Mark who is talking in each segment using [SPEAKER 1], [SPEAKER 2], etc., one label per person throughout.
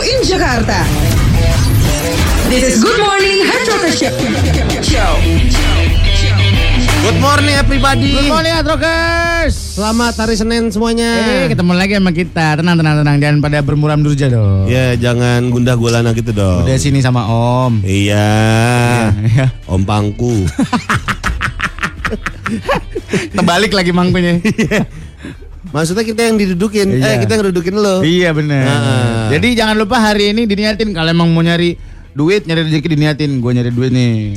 [SPEAKER 1] Jakarta. This is Good Morning Hatchokers Show.
[SPEAKER 2] Good morning everybody.
[SPEAKER 3] Good morning Atrokers.
[SPEAKER 2] Selamat hari Senin semuanya.
[SPEAKER 3] Eh, ketemu lagi sama kita. Tenang, tenang, tenang. Jangan pada bermuram durja dong.
[SPEAKER 2] Ya jangan gundah gulana gitu dong.
[SPEAKER 3] Udah sini sama Om.
[SPEAKER 2] Iya.
[SPEAKER 3] Iya.
[SPEAKER 2] Om Pangku.
[SPEAKER 3] Terbalik lagi mangkunya.
[SPEAKER 2] Iya. Maksudnya kita yang didudukin. Eh
[SPEAKER 3] Iya.
[SPEAKER 2] kita yang dudukin lo.
[SPEAKER 3] iya bener.
[SPEAKER 2] Nah.
[SPEAKER 3] Jadi jangan lupa hari ini diniatin. Kalau emang mau nyari duit, nyari rezeki diniatin. Gue nyari duit nih.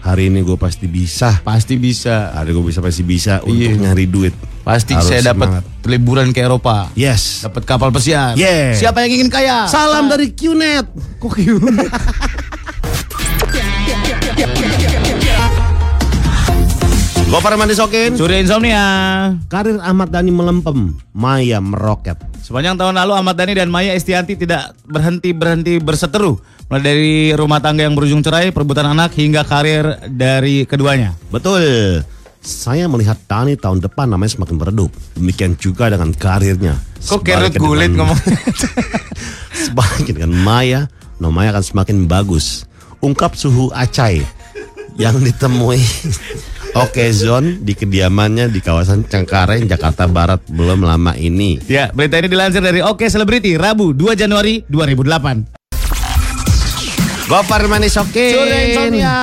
[SPEAKER 2] Hari ini gue pasti bisa.
[SPEAKER 3] Pasti bisa.
[SPEAKER 2] Hari gue bisa pasti bisa
[SPEAKER 3] Iya.
[SPEAKER 2] untuk nyari duit.
[SPEAKER 3] Pasti
[SPEAKER 2] Harus
[SPEAKER 3] saya dapat
[SPEAKER 2] semangat.
[SPEAKER 3] liburan ke Eropa.
[SPEAKER 2] Yes.
[SPEAKER 3] Dapat kapal pesiar.
[SPEAKER 2] Yeah.
[SPEAKER 3] Siapa yang ingin kaya?
[SPEAKER 2] Salam dari QNet. Kok QNet? Gopar Mandisokin.
[SPEAKER 3] Surya Insomnia.
[SPEAKER 2] Karir Ahmad Dhani melempem, Maya meroket.
[SPEAKER 3] Sepanjang tahun lalu Ahmad Dhani dan Maya Estianti tidak berhenti-berhenti berseteru. Mulai dari rumah tangga yang berujung cerai, perebutan anak, hingga karir dari keduanya.
[SPEAKER 2] Betul. Saya melihat Dani tahun depan namanya semakin meredup. Demikian juga dengan karirnya.
[SPEAKER 3] Kok kerut
[SPEAKER 2] Sebaliknya
[SPEAKER 3] gulit
[SPEAKER 2] dengan-
[SPEAKER 3] ngomong?
[SPEAKER 2] Sebaliknya dengan Maya, Nomaya akan semakin bagus. Ungkap suhu acai yang ditemui Oke Zon di kediamannya di kawasan Cengkareng, Jakarta Barat belum lama ini.
[SPEAKER 3] ya, berita ini dilansir dari Oke Celebrity, Rabu 2 Januari 2008.
[SPEAKER 2] Gopar manis oke.
[SPEAKER 3] ya.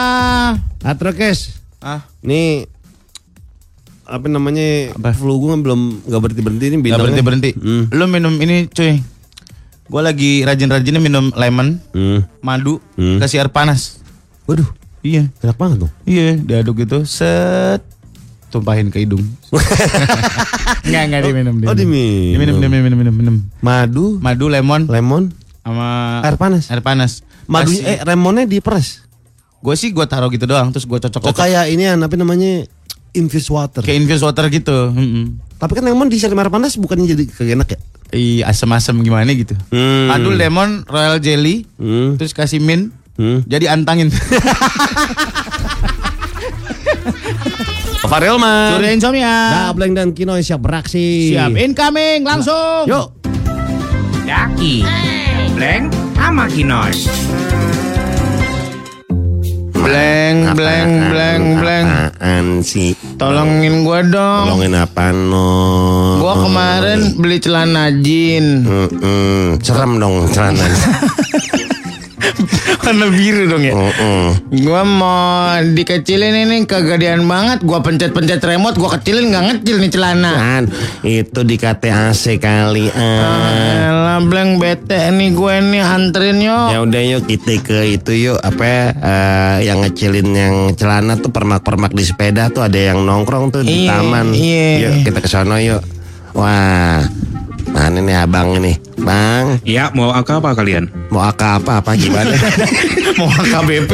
[SPEAKER 2] Atrokes.
[SPEAKER 3] Ah,
[SPEAKER 2] Nih apa namanya
[SPEAKER 3] Apa?
[SPEAKER 2] flu gue belum nggak berhenti berhenti ini
[SPEAKER 3] nggak
[SPEAKER 2] bintangnya.
[SPEAKER 3] berhenti berhenti.
[SPEAKER 2] Hmm.
[SPEAKER 3] Lu minum ini cuy. Gue lagi rajin-rajinnya minum lemon,
[SPEAKER 2] Hmm.
[SPEAKER 3] madu,
[SPEAKER 2] Hmm.
[SPEAKER 3] kasih air panas.
[SPEAKER 2] Waduh,
[SPEAKER 3] Iya,
[SPEAKER 2] enak banget dong.
[SPEAKER 3] iya, diaduk gitu, set, tumpahin ke hidung. Enggak, enggak diminum.
[SPEAKER 2] Oh, diminum.
[SPEAKER 3] Diminum, diminum, minum, minum, minum.
[SPEAKER 2] Madu,
[SPEAKER 3] madu lemon
[SPEAKER 2] lemon,
[SPEAKER 3] sama
[SPEAKER 2] air panas.
[SPEAKER 3] air panas
[SPEAKER 2] Madunya eh lemonnya diperes.
[SPEAKER 3] gue sih gue taruh gitu doang terus gue cocok
[SPEAKER 2] Oh
[SPEAKER 3] cocok
[SPEAKER 2] kayak ini yang apa namanya infused water.
[SPEAKER 3] kayak infused water gitu Mm-mm.
[SPEAKER 2] Tapi kan lemon diisi sama air panas bukannya jadi kagak enak ya?
[SPEAKER 3] Ih, asem-asem gimana gitu
[SPEAKER 2] Hmm.
[SPEAKER 3] Adul lemon royal jelly
[SPEAKER 2] Hmm.
[SPEAKER 3] terus kasih mint
[SPEAKER 2] Hmm.
[SPEAKER 3] jadi antangin
[SPEAKER 2] Farel
[SPEAKER 3] Surya Insomnia
[SPEAKER 2] Dableng dan Kinoy siap beraksi.
[SPEAKER 3] Nah, siap Eh, incoming langsung
[SPEAKER 2] Yuk.
[SPEAKER 4] Daki, Bleng, sama Kinos.
[SPEAKER 3] bleng bleng bleng bleng
[SPEAKER 2] Apaan sih?
[SPEAKER 3] tolongin gue dong
[SPEAKER 2] Tolongin Kan apa no?
[SPEAKER 3] gue kemarin beli celana jean
[SPEAKER 2] Mm-mm. Serem dong celana.
[SPEAKER 3] warna biru dong ya
[SPEAKER 2] Mm-mm.
[SPEAKER 3] Gua mau dikecilin ini kegedean banget. Gua pencet-pencet remote, gua kecilin nggak ngecil nih celana.
[SPEAKER 2] An, Kan, itu di KTAC kali. ah.
[SPEAKER 3] Ah.
[SPEAKER 2] An.
[SPEAKER 3] Elah bleng bete nih gue nih anterin yo.
[SPEAKER 2] Ya udah yuk kita ke itu yuk apa eh, yang ngecilin yang celana tuh permak-permak di sepeda tuh ada yang nongkrong tuh di
[SPEAKER 3] Iya,
[SPEAKER 2] taman.
[SPEAKER 3] iya.
[SPEAKER 2] Yuk kita ke sono yuk. Wah. Mana nih abang ini? Bang,
[SPEAKER 4] Ya, mau angka apa kalian?
[SPEAKER 2] mau aka apa apa gimana?
[SPEAKER 3] Mau KBP.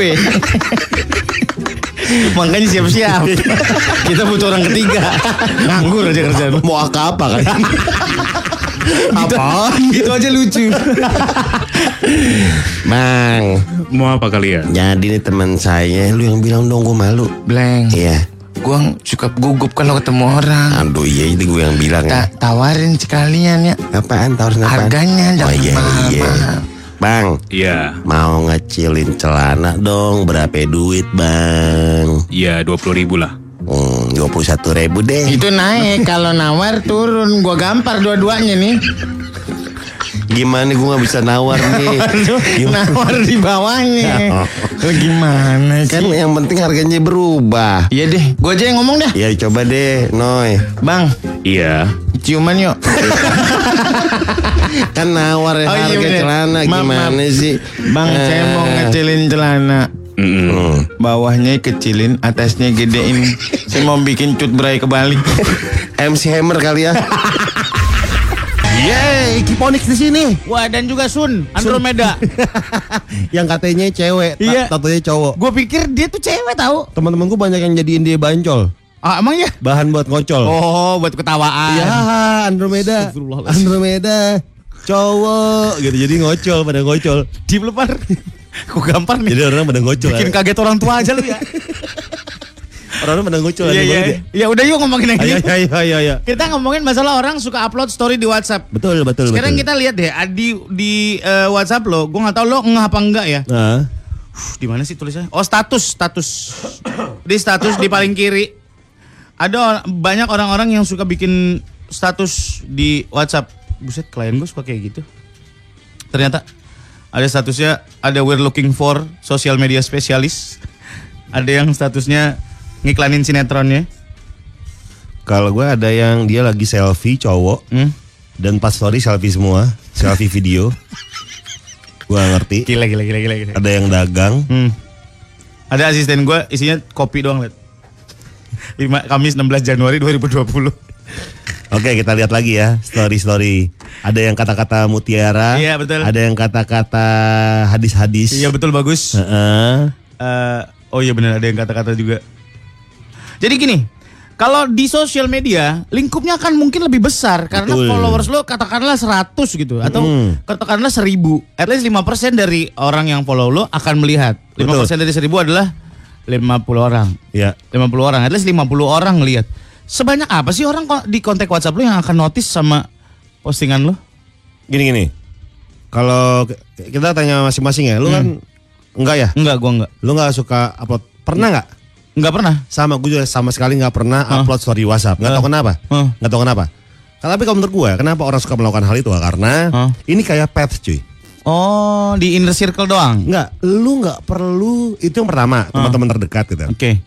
[SPEAKER 3] Makanya siap-siap. Kita butuh orang ketiga. Nganggur aja kerjaan.
[SPEAKER 2] mau aka apa kan? apa?
[SPEAKER 3] Itu Gitu aja lucu.
[SPEAKER 2] Bang,
[SPEAKER 4] Mau apa kalian?
[SPEAKER 2] jadi nih teman saya lu yang bilang dong gue malu.
[SPEAKER 3] Bleng,
[SPEAKER 2] Iya.
[SPEAKER 3] gue suka gugup kalau ketemu orang.
[SPEAKER 2] Aduh iya itu gue yang bilang. ya.
[SPEAKER 3] Tak tawarin sekalian ya.
[SPEAKER 2] Apaan tawarin apaan?
[SPEAKER 3] Harganya jangan
[SPEAKER 2] oh, iya, iya.
[SPEAKER 3] mahal-mahal.
[SPEAKER 2] Bang,
[SPEAKER 4] Ya,
[SPEAKER 2] Mau ngecilin celana dong berapa duit bang?
[SPEAKER 4] ya 20 ribu lah.
[SPEAKER 2] Hmm, 21 ribu deh
[SPEAKER 3] Itu naik kalau nawar turun. Gua gampar dua-duanya nih.
[SPEAKER 2] Gimana gue gak bisa nawar nih
[SPEAKER 3] Iya.
[SPEAKER 2] Gimana?
[SPEAKER 3] nawar di bawahnya. Lu gimana
[SPEAKER 2] Kan
[SPEAKER 3] sih?
[SPEAKER 2] yang penting harganya berubah
[SPEAKER 3] Iya deh, gue aja yang ngomong dah.
[SPEAKER 2] Ya coba deh Noy
[SPEAKER 3] Bang,
[SPEAKER 4] Iya.
[SPEAKER 3] ciuman yuk.
[SPEAKER 2] Kan nawar
[SPEAKER 3] Oh, iya
[SPEAKER 2] harga
[SPEAKER 3] bener.
[SPEAKER 2] celana
[SPEAKER 3] Maaf,
[SPEAKER 2] Gimana
[SPEAKER 3] maaf.
[SPEAKER 2] sih
[SPEAKER 3] Bang,
[SPEAKER 2] Eh.
[SPEAKER 3] saya mau ngecilin celana.
[SPEAKER 4] Mm-mm.
[SPEAKER 3] Bawahnya kecilin, atasnya gedein. saya mau bikin cut berai kebalik.
[SPEAKER 2] MC Hammer kali ya Yeay Kiponix di sini
[SPEAKER 3] Wah, dan juga Sun, Andromeda.
[SPEAKER 2] Yang katanya cewek ta-
[SPEAKER 3] Iya.
[SPEAKER 2] Tatonya cowok
[SPEAKER 3] gue pikir dia tuh cewek tahu.
[SPEAKER 2] Teman-teman gue banyak yang jadiin dia bancol
[SPEAKER 3] Ah, emang ya?
[SPEAKER 2] Bahan buat ngocol
[SPEAKER 3] Oh, buat ketawaan.
[SPEAKER 2] Ya, Andromeda. Andromeda. Cowok gitu. Jadi ngocol pada ngocol.
[SPEAKER 3] Di belepar. Gue gampar
[SPEAKER 2] Jadi
[SPEAKER 3] nih.
[SPEAKER 2] orang pada ngocol.
[SPEAKER 3] Bikin kaget orang tua aja lu ya.
[SPEAKER 2] Orang-orang pada ngucul
[SPEAKER 3] Iya,
[SPEAKER 2] ada Iya,
[SPEAKER 3] iya.
[SPEAKER 2] mulut ya.
[SPEAKER 3] Ya udah yuk ngomongin yang
[SPEAKER 2] Ayo,
[SPEAKER 3] ini.
[SPEAKER 2] ayo, ayo, ayo.
[SPEAKER 3] Kita ngomongin masalah orang suka upload story di WhatsApp.
[SPEAKER 2] Betul, betul,
[SPEAKER 3] Sekarang
[SPEAKER 2] betul.
[SPEAKER 3] kita lihat deh Adi di eh, WhatsApp lo, gue nggak tahu lo ngeh apa enggak ya.
[SPEAKER 2] Nah,
[SPEAKER 3] Huh, di mana sih tulisannya? Oh status, status. Di status di paling kiri ada or- banyak orang-orang yang suka bikin status di WhatsApp. Buset, klien gue suka kayak gitu. Ternyata ada statusnya ada we're looking for social media specialist. Ada yang statusnya ngiklanin sinetronnya.
[SPEAKER 2] kalau gue ada yang dia lagi selfie cowok
[SPEAKER 3] Hmm?
[SPEAKER 2] dan pas story selfie semua, selfie video. Gue ngerti.
[SPEAKER 3] Gila, gila, gila, gila, gila.
[SPEAKER 2] Ada yang dagang.
[SPEAKER 3] Hmm. Ada asisten gue isinya kopi doang, lihat. Lima- Kamis 16 Januari 2020.
[SPEAKER 2] Oke kita lihat lagi ya story story. Ada yang kata-kata mutiara.
[SPEAKER 3] Iya, betul.
[SPEAKER 2] Ada yang kata-kata hadis-hadis.
[SPEAKER 3] Iya betul bagus.
[SPEAKER 2] Heeh.
[SPEAKER 3] Eh, oh iya benar ada yang kata-kata juga. Jadi gini, kalau di sosial media lingkupnya akan mungkin lebih besar karena
[SPEAKER 2] Betul.
[SPEAKER 3] followers lo katakanlah 100 gitu atau katakanlah 1000. At least 5% dari orang yang follow lo akan melihat. 5%
[SPEAKER 2] Betul.
[SPEAKER 3] dari 1000 adalah 50 orang.
[SPEAKER 2] Iya.
[SPEAKER 3] 50 orang, at least 50 orang ngelihat. Sebanyak apa sih orang ko- di kontak WhatsApp lo yang akan notice sama postingan lo?
[SPEAKER 2] Gini gini. Kalau ki- kita tanya masing-masing ya,
[SPEAKER 3] Hmm.
[SPEAKER 2] lu kan enggak ya?
[SPEAKER 3] Enggak, gua enggak.
[SPEAKER 2] Lu nggak suka upload? Pernah nggak?
[SPEAKER 3] Enggak pernah.
[SPEAKER 2] Sama gue juga sama sekali nggak pernah upload story WhatsApp. Nggak tau
[SPEAKER 3] Hah?
[SPEAKER 2] kenapa?
[SPEAKER 3] Hah?
[SPEAKER 2] Nggak tau kenapa. Tapi kalau menurut gue, kenapa orang suka melakukan hal itu? Karena
[SPEAKER 3] Hah?
[SPEAKER 2] ini kayak pet cuy.
[SPEAKER 3] Oh, di inner circle doang.
[SPEAKER 2] Enggak, lu nggak perlu itu yang pertama teman-teman terdekat gitu.
[SPEAKER 3] Oke.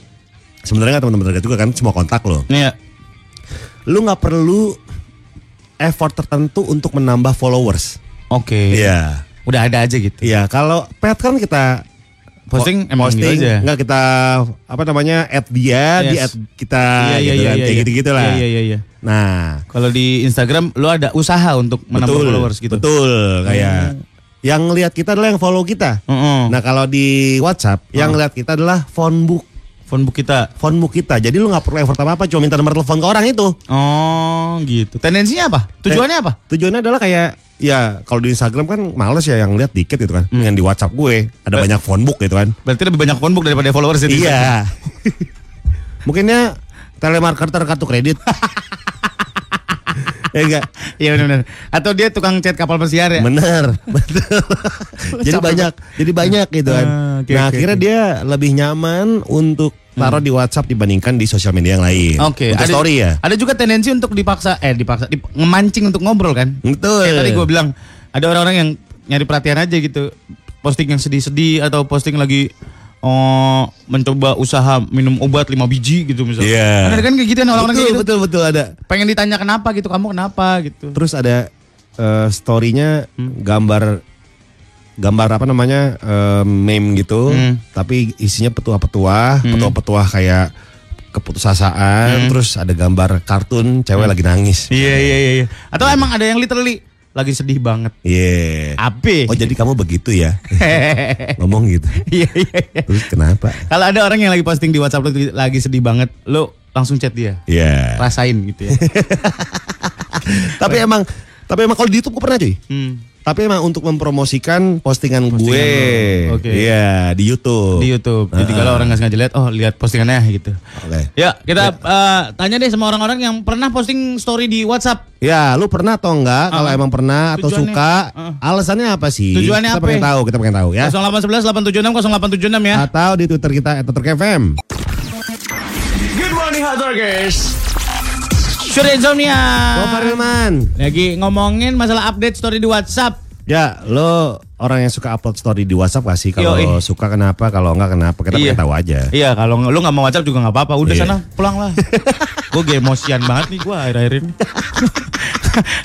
[SPEAKER 2] Sebenarnya nggak teman-teman terdekat juga kan semua kontak lo.
[SPEAKER 3] Iya.
[SPEAKER 2] lu nggak perlu effort tertentu untuk menambah followers.
[SPEAKER 3] Oke.
[SPEAKER 2] Iya.
[SPEAKER 3] Udah ada aja gitu.
[SPEAKER 2] Iya, kalau pet kan kita
[SPEAKER 3] Posting
[SPEAKER 2] po-
[SPEAKER 3] emang
[SPEAKER 2] posting,
[SPEAKER 3] gitu aja.
[SPEAKER 2] nggak kita apa namanya add dia,
[SPEAKER 3] Yes.
[SPEAKER 2] di add kita
[SPEAKER 3] Iya, iya,
[SPEAKER 2] gitu
[SPEAKER 3] iya,
[SPEAKER 2] kan,
[SPEAKER 3] iya,
[SPEAKER 2] kayak
[SPEAKER 3] iya.
[SPEAKER 2] gitu-gitu lah.
[SPEAKER 3] Iya, iya, iya, iya.
[SPEAKER 2] Nah,
[SPEAKER 3] Kalau di Instagram lo ada usaha untuk menambah
[SPEAKER 2] betul,
[SPEAKER 3] followers gitu. Oh.
[SPEAKER 2] Betul, kayak yang lihat kita adalah yang follow kita.
[SPEAKER 3] Mm-mm.
[SPEAKER 2] Nah, kalau di WhatsApp
[SPEAKER 3] Oh.
[SPEAKER 2] yang lihat kita adalah phone book
[SPEAKER 3] Phone book kita.
[SPEAKER 2] phone book kita. Jadi lu nggak perlu effort apa-apa, cuma minta nomor telepon ke orang itu.
[SPEAKER 3] Oh, gitu. Tendensinya apa? Tujuannya apa?
[SPEAKER 2] Tujuannya adalah kayak ya kalau di Instagram kan males ya yang lihat dikit gitu kan.
[SPEAKER 3] Hmm.
[SPEAKER 2] Yang di WhatsApp gue
[SPEAKER 3] Eh.
[SPEAKER 2] ada banyak phone book gitu kan.
[SPEAKER 3] Berarti lebih banyak phone book daripada followers di Instagram.
[SPEAKER 2] Iya. Mungkinnya telemarketer kartu kredit. ya enggak.
[SPEAKER 3] Iya benar-benar. Atau dia tukang cat kapal pesiar ya?
[SPEAKER 2] Bener, betul. jadi
[SPEAKER 3] Capek
[SPEAKER 2] banyak, jadi banyak gitu kan.
[SPEAKER 3] Ah, oke,
[SPEAKER 2] nah,
[SPEAKER 3] oke,
[SPEAKER 2] akhirnya
[SPEAKER 3] oke. Hmm.
[SPEAKER 2] dia lebih nyaman untuk taruh di WhatsApp dibandingkan di sosial media yang lain.
[SPEAKER 3] Oke,
[SPEAKER 2] Untuk story ya.
[SPEAKER 3] Ada juga tendensi untuk dipaksa eh dipaksa dip, ngemancing untuk ngobrol kan?
[SPEAKER 2] Betul.
[SPEAKER 3] Kayak tadi gue bilang ada orang-orang yang nyari perhatian aja gitu. Posting yang sedih-sedih atau posting lagi oh mencoba usaha minum obat 5 biji gitu misalnya.
[SPEAKER 2] Iya.
[SPEAKER 3] Ada kan kayak gitu kan orang-orang
[SPEAKER 2] betul,
[SPEAKER 3] kayak gitu.
[SPEAKER 2] betul, betul ada.
[SPEAKER 3] Pengen ditanya kenapa gitu, kamu kenapa gitu.
[SPEAKER 2] Terus ada eh, story-nya
[SPEAKER 3] Hmm.
[SPEAKER 2] gambar gambar apa namanya eh, meme gitu,
[SPEAKER 3] Hmm.
[SPEAKER 2] tapi isinya petua-petua, petua-petua kayak
[SPEAKER 3] Hmm.
[SPEAKER 2] keputusasaan, terus ada gambar kartun cewek lagi nangis.
[SPEAKER 3] Iya iya iya. iya. Atau emang ada yang literally lagi sedih banget.
[SPEAKER 2] Iya.
[SPEAKER 3] Ape.
[SPEAKER 2] Oh jadi kamu begitu ya ngomong gitu.
[SPEAKER 3] Iya iya. iya.
[SPEAKER 2] Terus kenapa?
[SPEAKER 3] Kalau ada orang yang lagi posting di WhatsApp lu lagi sedih banget, lu langsung chat dia.
[SPEAKER 2] Iya.
[SPEAKER 3] Rasain gitu ya.
[SPEAKER 2] Tapi emang tapi emang kalau di YouTube gue pernah cuy.
[SPEAKER 3] Hmm.
[SPEAKER 2] Tapi emang untuk mempromosikan postingan, gue.
[SPEAKER 3] lu. Oke.
[SPEAKER 2] Iya, di YouTube.
[SPEAKER 3] di YouTube. Jadi kalau orang nggak sengaja lihat, oh lihat postingannya gitu.
[SPEAKER 2] Oke.
[SPEAKER 3] Ya kita eh, tanya deh sama orang-orang yang pernah posting story di WhatsApp.
[SPEAKER 2] Ya, lu pernah atau enggak? Kalau emang pernah atau
[SPEAKER 3] Tujuannya-
[SPEAKER 2] suka,
[SPEAKER 3] Heeh.
[SPEAKER 2] alasannya apa sih?
[SPEAKER 3] Tujuannya
[SPEAKER 2] kita
[SPEAKER 3] apa?
[SPEAKER 2] pengen tahu, kita pengen tahu ya.
[SPEAKER 3] 0811 876 0876 ya.
[SPEAKER 2] Atau di Twitter kita @terkfm.
[SPEAKER 4] Good morning, Hot Talkers.
[SPEAKER 3] Sure Insomnia.
[SPEAKER 2] Gopar Hilman.
[SPEAKER 3] Lagi ngomongin masalah update story di WhatsApp.
[SPEAKER 2] Ya, lo orang yang suka upload story di WhatsApp gak sih? Kalau
[SPEAKER 3] Yoi.
[SPEAKER 2] suka kenapa, kalau enggak kenapa, kita
[SPEAKER 3] Iya.
[SPEAKER 2] pengen tahu aja.
[SPEAKER 3] Iya kalau nggak- lu nggak mau WhatsApp juga nggak apa-apa. Udah
[SPEAKER 2] Iya.
[SPEAKER 3] sana pulang lah. gue gemosian banget nih gue akhir-akhir ini.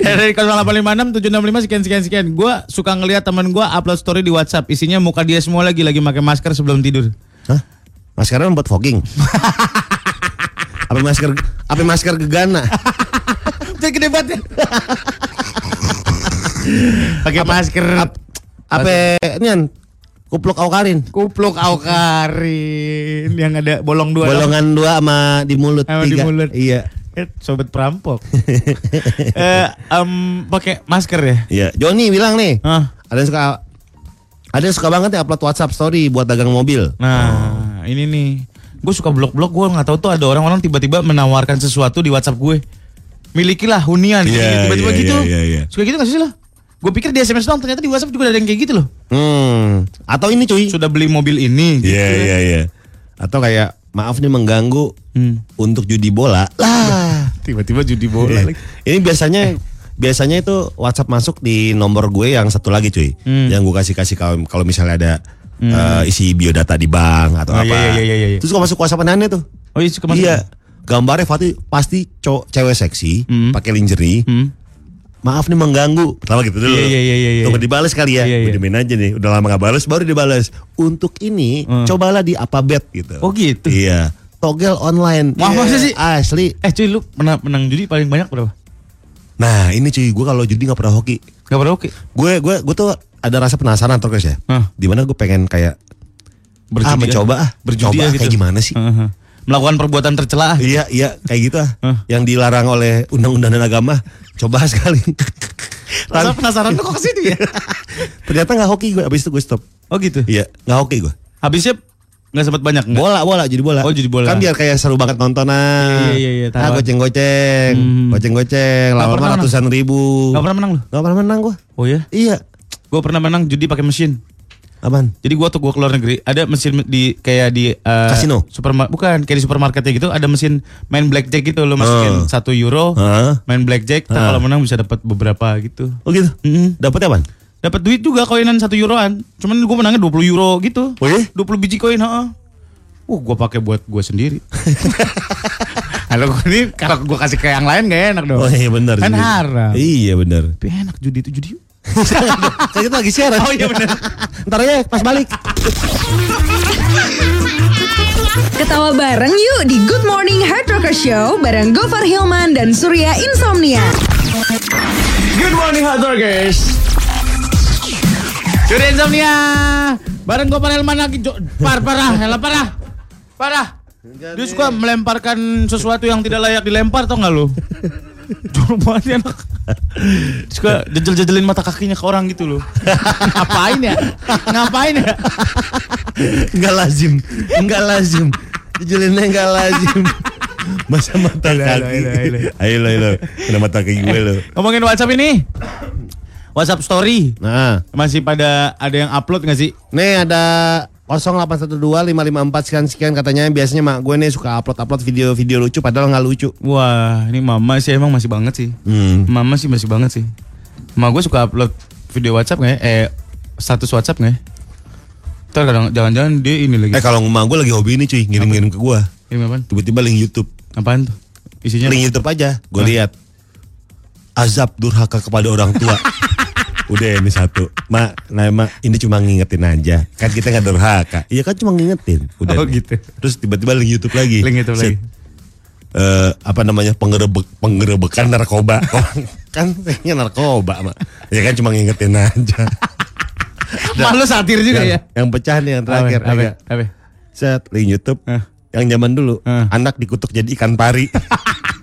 [SPEAKER 3] Dari 0856 765 sekian sekian sekian. Gue suka ngelihat temen gue upload story di WhatsApp. Isinya muka dia semua lagi lagi pakai masker sebelum tidur.
[SPEAKER 2] Hah? Maskernya membuat fogging. apa masker apa masker gegana?
[SPEAKER 3] Jadi gede banget. ya. Pakai masker.
[SPEAKER 2] Apa nian kupluk aukarin?
[SPEAKER 3] kupluk aukarin yang ada bolong dua.
[SPEAKER 2] Bolongan dua sama di mulut
[SPEAKER 3] Sama di
[SPEAKER 2] tiga.
[SPEAKER 3] mulut.
[SPEAKER 2] Iya.
[SPEAKER 3] Eh, Sobat perampok. eh, em, pakai masker ya.
[SPEAKER 2] Iya, Joni bilang nih.
[SPEAKER 3] Hah?
[SPEAKER 2] Ada yang suka ada yang suka banget ya upload WhatsApp story buat dagang mobil.
[SPEAKER 3] Nah, ini nih Gue suka blok-blok, gue nggak tahu tuh ada orang-orang tiba-tiba menawarkan sesuatu di WhatsApp gue. Milikilah hunian,
[SPEAKER 5] Iya,
[SPEAKER 3] tiba-tiba
[SPEAKER 5] iya,
[SPEAKER 3] gitu.
[SPEAKER 5] iya, iya, iya.
[SPEAKER 3] Suka gitu gak sih lo? Gue pikir di SMS doang, ternyata di WhatsApp juga ada yang kayak gitu loh.
[SPEAKER 2] Hmm. Atau ini cuy.
[SPEAKER 3] Sudah beli mobil ini. gitu.
[SPEAKER 5] Iya iya iya.
[SPEAKER 2] Atau kayak maaf nih mengganggu
[SPEAKER 3] Hmm.
[SPEAKER 2] untuk judi bola. Iya.
[SPEAKER 3] Lah, tiba-tiba judi bola. lagi.
[SPEAKER 2] Ini biasanya biasanya itu WhatsApp masuk di nomor gue yang satu lagi cuy.
[SPEAKER 3] Hmm.
[SPEAKER 2] Yang gue kasih-kasih kalau kalau misalnya ada eh, isi biodata di bank atau
[SPEAKER 3] Oh,
[SPEAKER 2] apa.
[SPEAKER 3] iya, iya, iya, iya, iya.
[SPEAKER 2] Terus kalau masuk WhatsApp aneh tuh.
[SPEAKER 3] Oh iya, suka masuk.
[SPEAKER 2] Iya. Gambarnya Fatih pasti cowok cewek seksi,
[SPEAKER 3] Hmm.
[SPEAKER 2] pakai lingerie. Maaf nih mengganggu. Pertama gitu dulu.
[SPEAKER 3] Iya, iya, iya, iya, iya.
[SPEAKER 2] Tunggu dibales kali ya.
[SPEAKER 3] Iya, iya.
[SPEAKER 2] Udah main aja nih. Udah lama gak bales baru dibales. Untuk ini cobalah di Alphabet gitu.
[SPEAKER 3] Hmm. Oh gitu.
[SPEAKER 2] Iya. Togel online. Iya,
[SPEAKER 3] Wah, masa sih?
[SPEAKER 2] Asli.
[SPEAKER 3] Eh cuy, lu menang, menang judi paling banyak berapa?
[SPEAKER 2] Nah, ini cuy, gue kalau judi nggak pernah hoki.
[SPEAKER 3] Gak berapa oke.
[SPEAKER 2] Gue gue gue tuh ada rasa penasaran terus ya.
[SPEAKER 3] Hah.
[SPEAKER 2] Dimana gue pengen kayak ah
[SPEAKER 3] Hmm. Berjudi ya?
[SPEAKER 2] mencoba ah,
[SPEAKER 3] Berjudi
[SPEAKER 2] coba
[SPEAKER 3] ya
[SPEAKER 2] ah,
[SPEAKER 3] gitu.
[SPEAKER 2] kayak gimana sih?
[SPEAKER 3] Heeh. Melakukan perbuatan tercela.
[SPEAKER 2] Iya, iya kayak gitu ah.
[SPEAKER 3] Hah.
[SPEAKER 2] Yang dilarang oleh undang-undang dan agama, coba sekali.
[SPEAKER 3] Rasa
[SPEAKER 2] Tan-
[SPEAKER 3] penasaran lu kok kesini ya?
[SPEAKER 2] Ternyata nggak hoki gue, abis itu gue stop.
[SPEAKER 3] oh gitu.
[SPEAKER 2] Iya, nggak hoki gue.
[SPEAKER 3] Habisnya nggak sempat banyak nggak?
[SPEAKER 2] Bola, bola, jadi bola.
[SPEAKER 3] Oh, jadi bola.
[SPEAKER 2] Kan biar kayak seru banget nontonan.
[SPEAKER 3] Iya, iya, iya,
[SPEAKER 2] Ah,
[SPEAKER 3] taruhan.
[SPEAKER 2] goceng-goceng, goceng-goceng,
[SPEAKER 3] pernah
[SPEAKER 2] lama
[SPEAKER 3] menang.
[SPEAKER 2] ratusan ribu.
[SPEAKER 3] Nggak pernah menang lu?
[SPEAKER 2] Gak pernah menang gue.
[SPEAKER 3] Oh ya?
[SPEAKER 2] Iya.
[SPEAKER 3] Gue pernah menang judi pakai mesin.
[SPEAKER 2] Aman.
[SPEAKER 3] Jadi gua tuh gua keluar negeri ada mesin di kayak di eh,
[SPEAKER 2] Kasino?
[SPEAKER 3] superma- bukan kayak di supermarketnya gitu ada mesin main blackjack gitu lo masukin
[SPEAKER 2] Heeh.
[SPEAKER 3] satu euro
[SPEAKER 2] Heeh.
[SPEAKER 3] main blackjack ntar
[SPEAKER 2] Heeh.
[SPEAKER 3] kalau menang bisa dapat beberapa gitu
[SPEAKER 2] Oh gitu.
[SPEAKER 3] Mm-mm.
[SPEAKER 2] Dapatnya apaan?
[SPEAKER 3] dapat duit juga koinan satu euroan cuman gue menangnya 20 euro gitu
[SPEAKER 2] Oh iya?
[SPEAKER 3] 20 biji koin heeh. Wah, gue pakai buat gue sendiri. Kalau gue ini kalau gue kasih ke yang lain gak enak dong.
[SPEAKER 2] Oh iya benar.
[SPEAKER 3] Kan
[SPEAKER 2] sih.
[SPEAKER 3] haram.
[SPEAKER 2] Iya benar.
[SPEAKER 3] Tapi enak judi itu judi. yuk.
[SPEAKER 2] Saya kita lagi siaran.
[SPEAKER 3] Oh iya benar.
[SPEAKER 2] Ntar aja pas balik.
[SPEAKER 1] Ketawa bareng yuk di Good Morning Hard Rocker Show bareng Gofar Hilman dan Surya Insomnia.
[SPEAKER 4] Good morning hot rockers.
[SPEAKER 3] Surya Insomnia. Bareng gue parah Elman lagi. Jo- Par, parah, hela parah. Parah. Dia suka melemparkan sesuatu yang tidak layak dilempar tau gak lu? Jorok banget ya anak. Suka jejel-jejelin mata kakinya ke orang gitu loh. Ngapain ya? Ngapain ya?
[SPEAKER 2] Enggak lazim. Enggak lazim. Jelinnya enggak lazim. Masa mata kaki.
[SPEAKER 3] Ayo, ayo, ayo,
[SPEAKER 2] Ayo lo, ayo lo. Kena mata kaki gue lo.
[SPEAKER 3] Ngomongin WhatsApp ini. WhatsApp story.
[SPEAKER 2] Nah,
[SPEAKER 3] Masih pada ada yang upload gak sih?
[SPEAKER 2] nih ada 0812 554 sekian sekian katanya biasanya mak gue nih suka upload upload video video lucu padahal nggak lucu.
[SPEAKER 3] Wah, ini mama sih emang masih banget sih.
[SPEAKER 2] Hmm.
[SPEAKER 3] Mama sih masih banget sih. Mama gue suka upload video WhatsApp nggak ya? Eh, status WhatsApp nggak ya? Ntar kadang jangan-jangan dia ini lagi.
[SPEAKER 2] Eh kalau mak gue lagi hobi ini cuy ngirim-ngirim ke gue.
[SPEAKER 3] Ini apaan?
[SPEAKER 2] Tiba-tiba link YouTube.
[SPEAKER 3] Apaan tuh? Isinya?
[SPEAKER 2] link YouTube aja. Gue
[SPEAKER 3] Iya. Hah?
[SPEAKER 2] lihat azab durhaka kepada orang tua. Udah ini satu. Mak, nah mak ini cuma ngingetin aja. Kan kita nggak durhaka. Iya kan cuma ngingetin. Udah.
[SPEAKER 3] Oh,
[SPEAKER 2] nih.
[SPEAKER 3] gitu.
[SPEAKER 2] Terus tiba-tiba link YouTube lagi.
[SPEAKER 3] Link YouTube lagi.
[SPEAKER 2] eh, apa namanya penggerebek penggerebekan narkoba Orang kan pengen narkoba mak ya kan cuma ngingetin aja
[SPEAKER 3] Malu satir juga ya?
[SPEAKER 2] yang, yang pecah nih ya. yang terakhir
[SPEAKER 3] Apa? Apa?
[SPEAKER 2] Agak.
[SPEAKER 3] Apa?
[SPEAKER 2] Set link YouTube
[SPEAKER 3] Hah.
[SPEAKER 2] yang zaman dulu
[SPEAKER 3] Hah.
[SPEAKER 2] anak dikutuk jadi ikan pari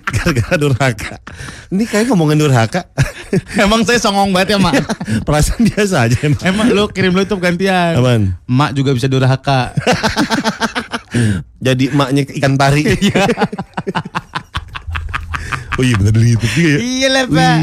[SPEAKER 2] gara-gara durhaka. Ini kayak ngomongin durhaka.
[SPEAKER 3] Emang saya songong banget ya, Mak.
[SPEAKER 2] Perasaan biasa aja emang.
[SPEAKER 3] Emang lu kirim lu tuh gantian.
[SPEAKER 2] Apaan?
[SPEAKER 3] Mak juga bisa durhaka.
[SPEAKER 2] Jadi emaknya ke ikan pari.
[SPEAKER 3] Iya.
[SPEAKER 2] oh iya bener link YouTube juga ya.
[SPEAKER 3] Iya lah pak.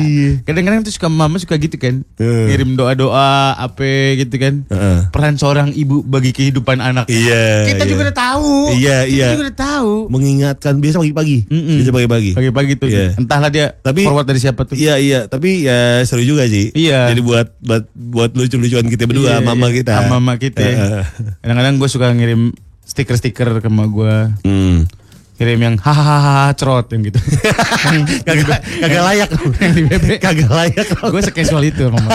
[SPEAKER 3] Kadang-kadang tuh suka mama suka gitu kan,
[SPEAKER 2] Heeh.
[SPEAKER 3] ngirim doa-doa apa gitu kan.
[SPEAKER 2] Heeh.
[SPEAKER 3] Peran seorang ibu bagi kehidupan anak.
[SPEAKER 2] Eh. Iya.
[SPEAKER 3] Kita
[SPEAKER 2] iya.
[SPEAKER 3] juga udah tahu.
[SPEAKER 2] Iya,
[SPEAKER 3] Kita
[SPEAKER 2] iya.
[SPEAKER 3] juga udah tahu.
[SPEAKER 2] mengingatkan biasa pagi-pagi.
[SPEAKER 3] Mm-mm.
[SPEAKER 2] Biasa pagi-pagi.
[SPEAKER 3] Pagi-pagi tuh,
[SPEAKER 2] Iya.
[SPEAKER 3] entahlah dia
[SPEAKER 2] Tapi-
[SPEAKER 3] forward dari siapa tuh.
[SPEAKER 2] Iya iya, tapi ya seru juga sih.
[SPEAKER 3] Iya.
[SPEAKER 2] Jadi buat buat buat lucu-lucuan kita
[SPEAKER 3] Iya,
[SPEAKER 2] berdua, mama
[SPEAKER 3] iya.
[SPEAKER 2] kita.
[SPEAKER 3] Sama mama kita.
[SPEAKER 2] Heeh.
[SPEAKER 3] Kadang-kadang gue suka ngirim stiker-stiker ke mama gue.
[SPEAKER 2] Hmm.
[SPEAKER 3] Kirim yang hahaha cerot yang gitu.
[SPEAKER 2] Kagak kagak layak.
[SPEAKER 3] yang di bebek.
[SPEAKER 2] Kagak layak.
[SPEAKER 3] gue sekasual itu mama.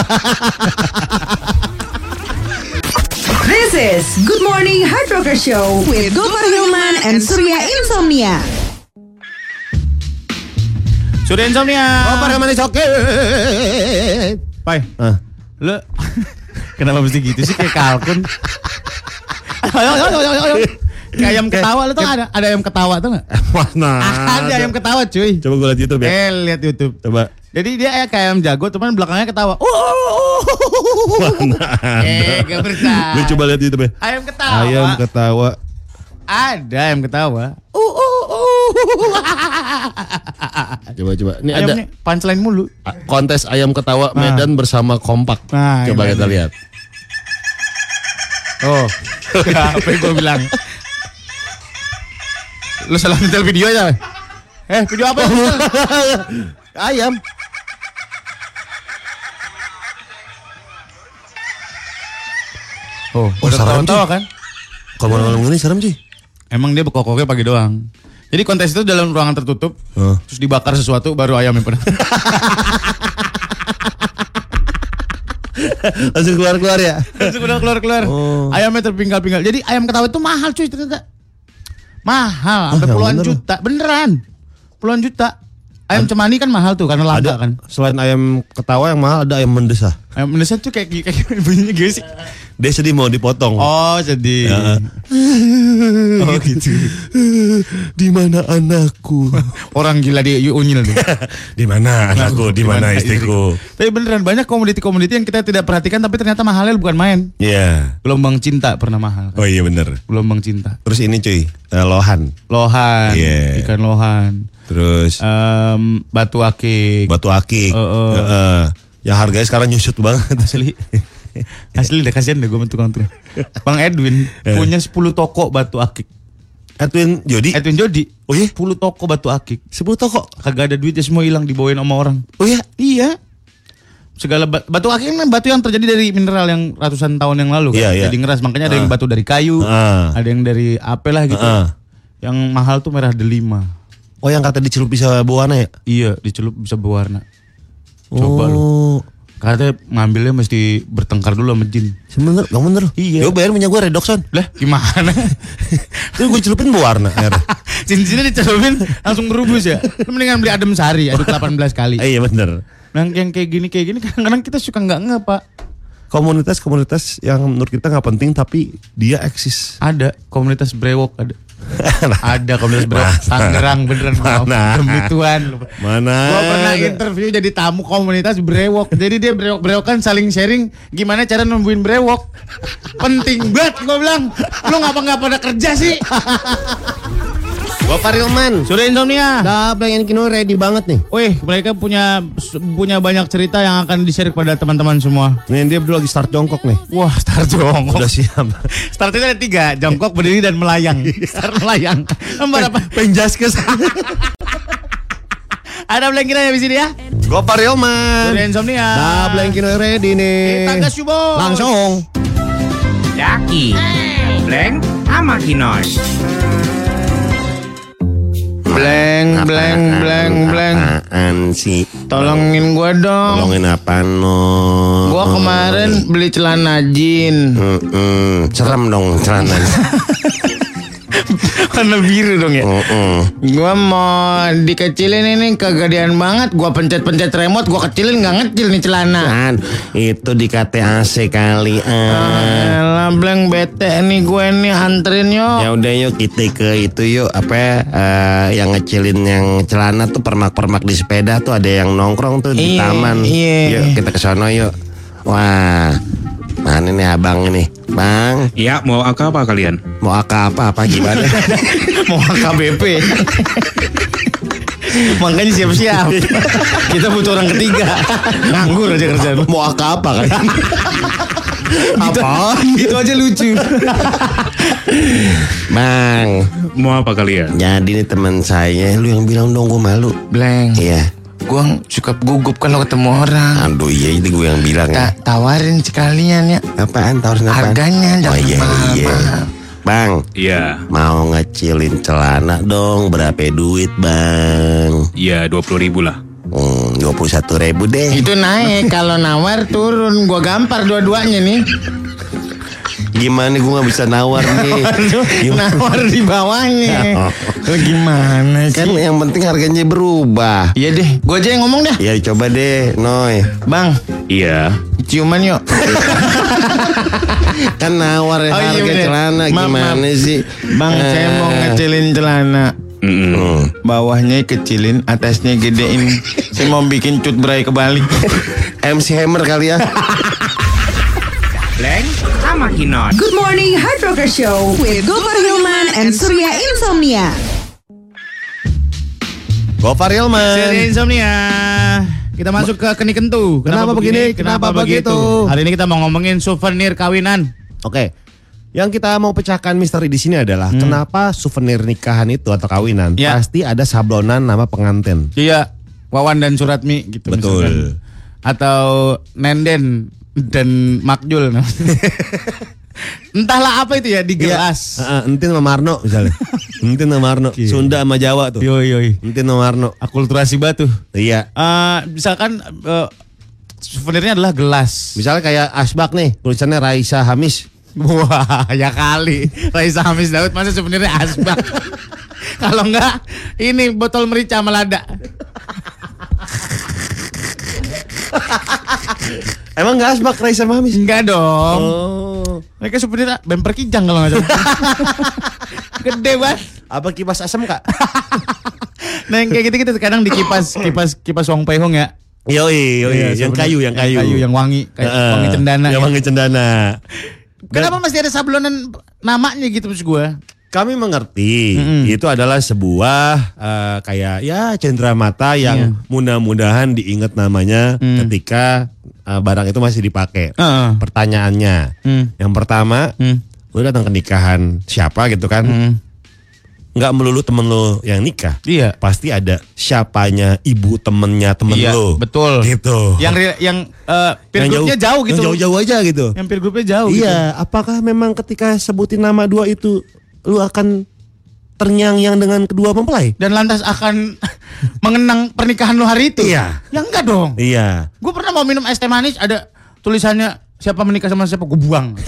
[SPEAKER 1] This is Good Morning Hard Rocker Show with Gofar Hilman and Surya Insomnia.
[SPEAKER 3] Sudah insomnia.
[SPEAKER 2] Oh, para manis oke.
[SPEAKER 3] Pai.
[SPEAKER 2] Ah.
[SPEAKER 3] Lu kenapa mesti gitu sih kayak kalkun? ayo, ayo, ayo, ayo, ayo. Kayak ayam ketawa lu tuh ada ada ayam ketawa tuh enggak?
[SPEAKER 2] Eh, Mana?
[SPEAKER 3] ada ayam ketawa, cuy.
[SPEAKER 2] Coba gue lihat YouTube ya.
[SPEAKER 3] Eh, lihat YouTube.
[SPEAKER 2] Coba.
[SPEAKER 3] Jadi dia kayak ayam jago cuman belakangnya ketawa. Uh, uh, uh, uh, uh, uh.
[SPEAKER 2] Mana ada?
[SPEAKER 3] Eh, gak bersalah.
[SPEAKER 2] Gue coba lihat YouTube ya.
[SPEAKER 3] Ayam ketawa.
[SPEAKER 2] Ayam ketawa.
[SPEAKER 3] Ada yang ketawa.
[SPEAKER 2] Coba coba. Ini Ah. ada
[SPEAKER 3] Ayamnya punchline mulu.
[SPEAKER 2] a- kontes ayam ketawa Medan bersama kompak.
[SPEAKER 3] Nah,
[SPEAKER 2] coba
[SPEAKER 3] ini
[SPEAKER 2] kita
[SPEAKER 3] dia.
[SPEAKER 2] lihat.
[SPEAKER 3] Oh, apa yang gue bilang? Lu salah nyetel video aja. Eh, video apa? yang lu nyetel?
[SPEAKER 2] Ayam.
[SPEAKER 3] Oh, udah
[SPEAKER 2] saran tuh.
[SPEAKER 3] tahu-tahu kan?
[SPEAKER 2] Kalau malam ini serem sih.
[SPEAKER 3] Emang dia bekokoknya pagi doang. Jadi kontes itu dalam ruangan tertutup,
[SPEAKER 2] Heeh.
[SPEAKER 3] terus dibakar sesuatu baru ayam yang pernah.
[SPEAKER 2] Langsung keluar-keluar ya.
[SPEAKER 3] Terus udah keluar-keluar.
[SPEAKER 2] Oh.
[SPEAKER 3] Ayamnya terpinggal-pinggal. Jadi ayam ketawa itu mahal cuy ternyata. Mahal, sampai
[SPEAKER 2] yang
[SPEAKER 3] puluhan
[SPEAKER 2] Oh, ya bener.
[SPEAKER 3] juta. Beneran. Puluhan juta. Ayam cemani kan mahal tuh karena
[SPEAKER 2] Ada
[SPEAKER 3] lada kan.
[SPEAKER 2] kan. Selain ayam ketawa yang mahal ada ayam mendesah.
[SPEAKER 3] Ayam Indonesia tuh kayak kayak bunyinya gini sih.
[SPEAKER 2] Dia sedih mau dipotong.
[SPEAKER 3] Oh, jadi.
[SPEAKER 2] Ya.
[SPEAKER 3] Oh, gitu.
[SPEAKER 2] Di mana anakku?
[SPEAKER 3] Orang gila di unyil tuh.
[SPEAKER 2] Di mana anakku? Di mana istriku?
[SPEAKER 3] Tapi beneran banyak komoditi-komoditi yang kita tidak perhatikan tapi ternyata mahalnya bukan main.
[SPEAKER 2] Iya.
[SPEAKER 3] Gelombang cinta pernah mahal. kan?
[SPEAKER 2] Oh iya bener.
[SPEAKER 3] Gelombang cinta.
[SPEAKER 2] Terus ini cuy, eh, lohan.
[SPEAKER 3] Lohan,
[SPEAKER 2] Iya.
[SPEAKER 3] ikan lohan. Ah,
[SPEAKER 2] Terus
[SPEAKER 3] Em, batu akik.
[SPEAKER 2] batu akik.
[SPEAKER 3] Heeh.
[SPEAKER 2] Heeh. Yang harganya sekarang nyusut banget.
[SPEAKER 3] Asli. Asli deh kasihan deh gue sama tukang tukang. Bang Edwin
[SPEAKER 2] Eh.
[SPEAKER 3] punya 10 toko batu akik.
[SPEAKER 2] Edwin Eh, Jody.
[SPEAKER 3] Edwin Jody.
[SPEAKER 2] Oh iya?
[SPEAKER 3] 10 toko batu akik.
[SPEAKER 2] Sebut toko.
[SPEAKER 3] Kagak ada duitnya semua hilang dibawain sama orang.
[SPEAKER 2] Oh iya.
[SPEAKER 3] Iya. Segala ba- batu akik kan batu yang terjadi dari mineral yang ratusan tahun yang lalu kan.
[SPEAKER 2] Iya, iya.
[SPEAKER 3] Jadi ngeras makanya ada yang
[SPEAKER 2] Ah.
[SPEAKER 3] batu dari kayu,
[SPEAKER 2] Ah.
[SPEAKER 3] ada yang dari apel lah gitu.
[SPEAKER 2] Ah.
[SPEAKER 3] Yang mahal tuh merah delima.
[SPEAKER 2] Oh yang kata dicelup bisa buana ya?
[SPEAKER 3] Iya, dicelup bisa berwarna. Coba lu.
[SPEAKER 2] Oh.
[SPEAKER 3] Katanya ngambilnya mesti bertengkar dulu sama jin.
[SPEAKER 2] Sebenernya, gak bener.
[SPEAKER 3] Iya.
[SPEAKER 2] Yo bayar minyak gue redoxon.
[SPEAKER 3] Lah, gimana?
[SPEAKER 2] Terus gue celupin berwarna. air.
[SPEAKER 3] cincinnya dicelupin langsung berubus ya Lu mendingan beli adem sari aduk 18 kali
[SPEAKER 2] Eh, iya bener.
[SPEAKER 3] nah yang kayak gini kayak gini kadang-kadang kita suka nggak nge pak
[SPEAKER 2] Komunitas-komunitas yang menurut kita nggak penting tapi dia eksis.
[SPEAKER 3] ada komunitas brewok ada ada komunitas brewok Tangerang beneran maaf.
[SPEAKER 2] Mana?
[SPEAKER 3] demi Tuhan
[SPEAKER 2] Mana
[SPEAKER 3] gue pernah
[SPEAKER 2] ada?
[SPEAKER 3] interview jadi tamu komunitas brewok jadi dia brewok brewok kan saling sharing gimana cara nemuin brewok penting banget gue bilang lu ngapa nggak pada kerja sih
[SPEAKER 6] Gue Farilman.
[SPEAKER 3] sudah insomnia
[SPEAKER 6] Udah Ah, pengen kino ready banget nih.
[SPEAKER 3] Wih, mereka punya punya banyak cerita yang akan di-share kepada teman-teman semua.
[SPEAKER 2] Nih dia berdua lagi start jongkok nih.
[SPEAKER 3] Wah, star jongkok.
[SPEAKER 2] Udah siap.
[SPEAKER 3] Start itu ada tiga, jongkok, berdiri, dan melayang. Star melayang. Berapa?
[SPEAKER 2] Penjaskes.
[SPEAKER 3] Ada blankiran habis ini ya?
[SPEAKER 6] Gue Farilman.
[SPEAKER 3] Udah insomnia.
[SPEAKER 2] Ah,
[SPEAKER 6] Udah pengen kino ready nih.
[SPEAKER 3] Kita gas yuk, Bos.
[SPEAKER 6] Langsung.
[SPEAKER 7] Daki, Blank, sama Kinoy.
[SPEAKER 3] Blank, blank, blank, blank.
[SPEAKER 6] Apaan sih?
[SPEAKER 3] Tolongin gua dong.
[SPEAKER 6] Tolongin apaan no?
[SPEAKER 3] Gua kemarin beli celana jin.
[SPEAKER 6] Mm-mm. Serem dong celana.
[SPEAKER 3] Warna biru dong ya.
[SPEAKER 6] Mm-mm.
[SPEAKER 3] Gua mau dikecilin ini kegedean banget. Gua pencet-pencet remote, gua kecilin nggak ngecil nih celana.
[SPEAKER 6] Apaan? Kan, Itu di KTAC kali. ah.
[SPEAKER 3] Elah blank Eh, bete nih gue nih anterin yo.
[SPEAKER 6] Ya udah yuk kita ke itu yuk apa ya, eh, yang ngecilin yang celana tuh permak-permak di sepeda tuh ada yang nongkrong tuh di
[SPEAKER 3] Iya,
[SPEAKER 6] taman.
[SPEAKER 3] iya.
[SPEAKER 6] Yuk kita ke sono yuk. Wah. Mana nih abang ini? Bang,
[SPEAKER 4] Ya, mau angka apa kalian?
[SPEAKER 6] mau aka apa apa gimana?
[SPEAKER 3] Mau KBP. Makanya siap-siap. Kita butuh orang ketiga. Nganggur aja kerjaan. Gitu.
[SPEAKER 6] mau aka apa kan?
[SPEAKER 3] Apa? Itu aja lucu.
[SPEAKER 6] Bang,
[SPEAKER 4] Mau apa kalian?
[SPEAKER 6] jadi nih teman saya lu yang bilang dong gue malu.
[SPEAKER 8] Bleng,
[SPEAKER 6] Iya.
[SPEAKER 8] gue suka gugup kalau ketemu orang.
[SPEAKER 6] Aduh iya itu gue yang bilang. ya.
[SPEAKER 8] Ta- tawarin sekalian ya.
[SPEAKER 3] Ah.
[SPEAKER 6] Apaan tawarin apaan?
[SPEAKER 8] Harganya
[SPEAKER 6] oh,
[SPEAKER 8] jangan
[SPEAKER 6] iya, iya.
[SPEAKER 8] mahal-mahal.
[SPEAKER 6] Bang,
[SPEAKER 4] Ya,
[SPEAKER 6] mau ngecilin celana dong berapa duit bang
[SPEAKER 4] ya 20 ribu lah.
[SPEAKER 6] hmm, 21 ribu deh
[SPEAKER 8] Itu naik kalau nawar turun. Gue gampar dua-duanya nih.
[SPEAKER 6] gimana gue nggak bisa nawar nih Gimana?
[SPEAKER 8] nawar di bawahnya. Lu gimana
[SPEAKER 6] kan
[SPEAKER 8] sih?
[SPEAKER 6] yang penting harganya berubah
[SPEAKER 8] Iya deh, gue aja yang ngomong dah.
[SPEAKER 6] ya coba deh Noy
[SPEAKER 8] Bang,
[SPEAKER 4] Iya.
[SPEAKER 8] ciuman yuk.
[SPEAKER 6] kan nawar
[SPEAKER 8] Oh, iya
[SPEAKER 6] harga
[SPEAKER 8] bener.
[SPEAKER 6] celana
[SPEAKER 8] Maaf,
[SPEAKER 6] gimana sih Eh,
[SPEAKER 8] Bang,
[SPEAKER 5] Eh.
[SPEAKER 8] saya mau ngecilin celana.
[SPEAKER 4] Mm-mm.
[SPEAKER 2] Hmm.
[SPEAKER 8] Bawahnya kecilin, atasnya gedein. saya mau bikin cut berai kebalik.
[SPEAKER 6] MC Hammer kali ya
[SPEAKER 4] Blank sama Kinoy.
[SPEAKER 1] Good Morning Hard Rocker Show with Gopar Hilman and Surya Insomnia.
[SPEAKER 2] Gopar
[SPEAKER 6] ya,
[SPEAKER 5] Seri
[SPEAKER 2] Hilman.
[SPEAKER 5] insomnia. Kita masuk ke keni kentu.
[SPEAKER 2] Kenapa begini? Kenapa begitu?
[SPEAKER 5] Hari ini kita mau ngomongin souvenir kawinan.
[SPEAKER 2] Oke. Yang kita mau pecahkan misteri di sini adalah kenapa souvenir nikahan itu atau kawinan
[SPEAKER 5] Ya.
[SPEAKER 2] pasti ada sablonan nama pengantin.
[SPEAKER 5] Iya, Wawan dan Suratmi gitu
[SPEAKER 2] Betul.
[SPEAKER 5] misalkan. Atau Nenden dan Makjul. Entahlah apa itu ya di gelas.
[SPEAKER 2] Heeh, entin sama Marno misalnya. entin sama Marno.
[SPEAKER 8] Iya.
[SPEAKER 2] Sunda sama Jawa tuh.
[SPEAKER 5] Yoi yoi.
[SPEAKER 2] Entin sama Marno.
[SPEAKER 5] Akulturasi batu.
[SPEAKER 2] Iya.
[SPEAKER 5] Eh, misalkan eh, souvenirnya adalah gelas.
[SPEAKER 2] Misalnya kayak Asbak nih, tulisannya Raisa Hamis.
[SPEAKER 5] Wah, ya kali. Raisa Hamis Daud masa sebenarnya asbak. Kalau enggak, ini botol merica melada.
[SPEAKER 2] Emang gak Asbak Raisa sama Hamis?
[SPEAKER 5] Enggak dong.
[SPEAKER 2] Oh.
[SPEAKER 5] Mereka sebenarnya bemper kijang kalau enggak salah. Gede banget.
[SPEAKER 2] Apa kipas asam kak?
[SPEAKER 5] Nah, yang kayak gitu kita kadang di kipas kipas kipas Wong Pei Hong ya.
[SPEAKER 2] yoi, yoi, yang kayu, Iya, yang kayu.
[SPEAKER 5] Yang yang wangi, kayak
[SPEAKER 2] Heeh,
[SPEAKER 5] wangi cendana.
[SPEAKER 2] Yang
[SPEAKER 5] ya.
[SPEAKER 2] wangi cendana.
[SPEAKER 5] Kenapa masih ada sablonan namanya gitu maksud gua?
[SPEAKER 2] Kami mengerti itu adalah sebuah eh, kayak ya cendera mata
[SPEAKER 5] Iya.
[SPEAKER 2] yang mudah-mudahan diingat namanya ketika eh, barang itu masih dipakai.
[SPEAKER 5] Mm. Heeh.
[SPEAKER 2] Pertanyaannya,
[SPEAKER 5] Hmm.
[SPEAKER 2] yang pertama,
[SPEAKER 5] Hmm.
[SPEAKER 2] lu datang ke nikahan siapa gitu kan?
[SPEAKER 5] Mm.
[SPEAKER 2] nggak melulu temen lo yang nikah.
[SPEAKER 5] Iya.
[SPEAKER 2] Pasti ada siapanya ibu temennya temen
[SPEAKER 5] Iya,
[SPEAKER 2] lo.
[SPEAKER 5] betul.
[SPEAKER 2] Gitu.
[SPEAKER 5] Yang re- yang eh peer
[SPEAKER 2] Yang
[SPEAKER 5] groupnya jauh, gitu.
[SPEAKER 2] yang Jauh-jauh aja gitu.
[SPEAKER 5] Yang peer groupnya jauh gitu.
[SPEAKER 2] iya. Apakah memang ketika sebutin nama dua itu lu akan ternyang-nyang dengan kedua mempelai?
[SPEAKER 5] dan lantas akan mengenang pernikahan lo hari itu.
[SPEAKER 2] Iya.
[SPEAKER 5] Ya enggak dong.
[SPEAKER 2] Iya.
[SPEAKER 5] Gue pernah mau minum es teh manis ada tulisannya siapa menikah sama siapa gue buang.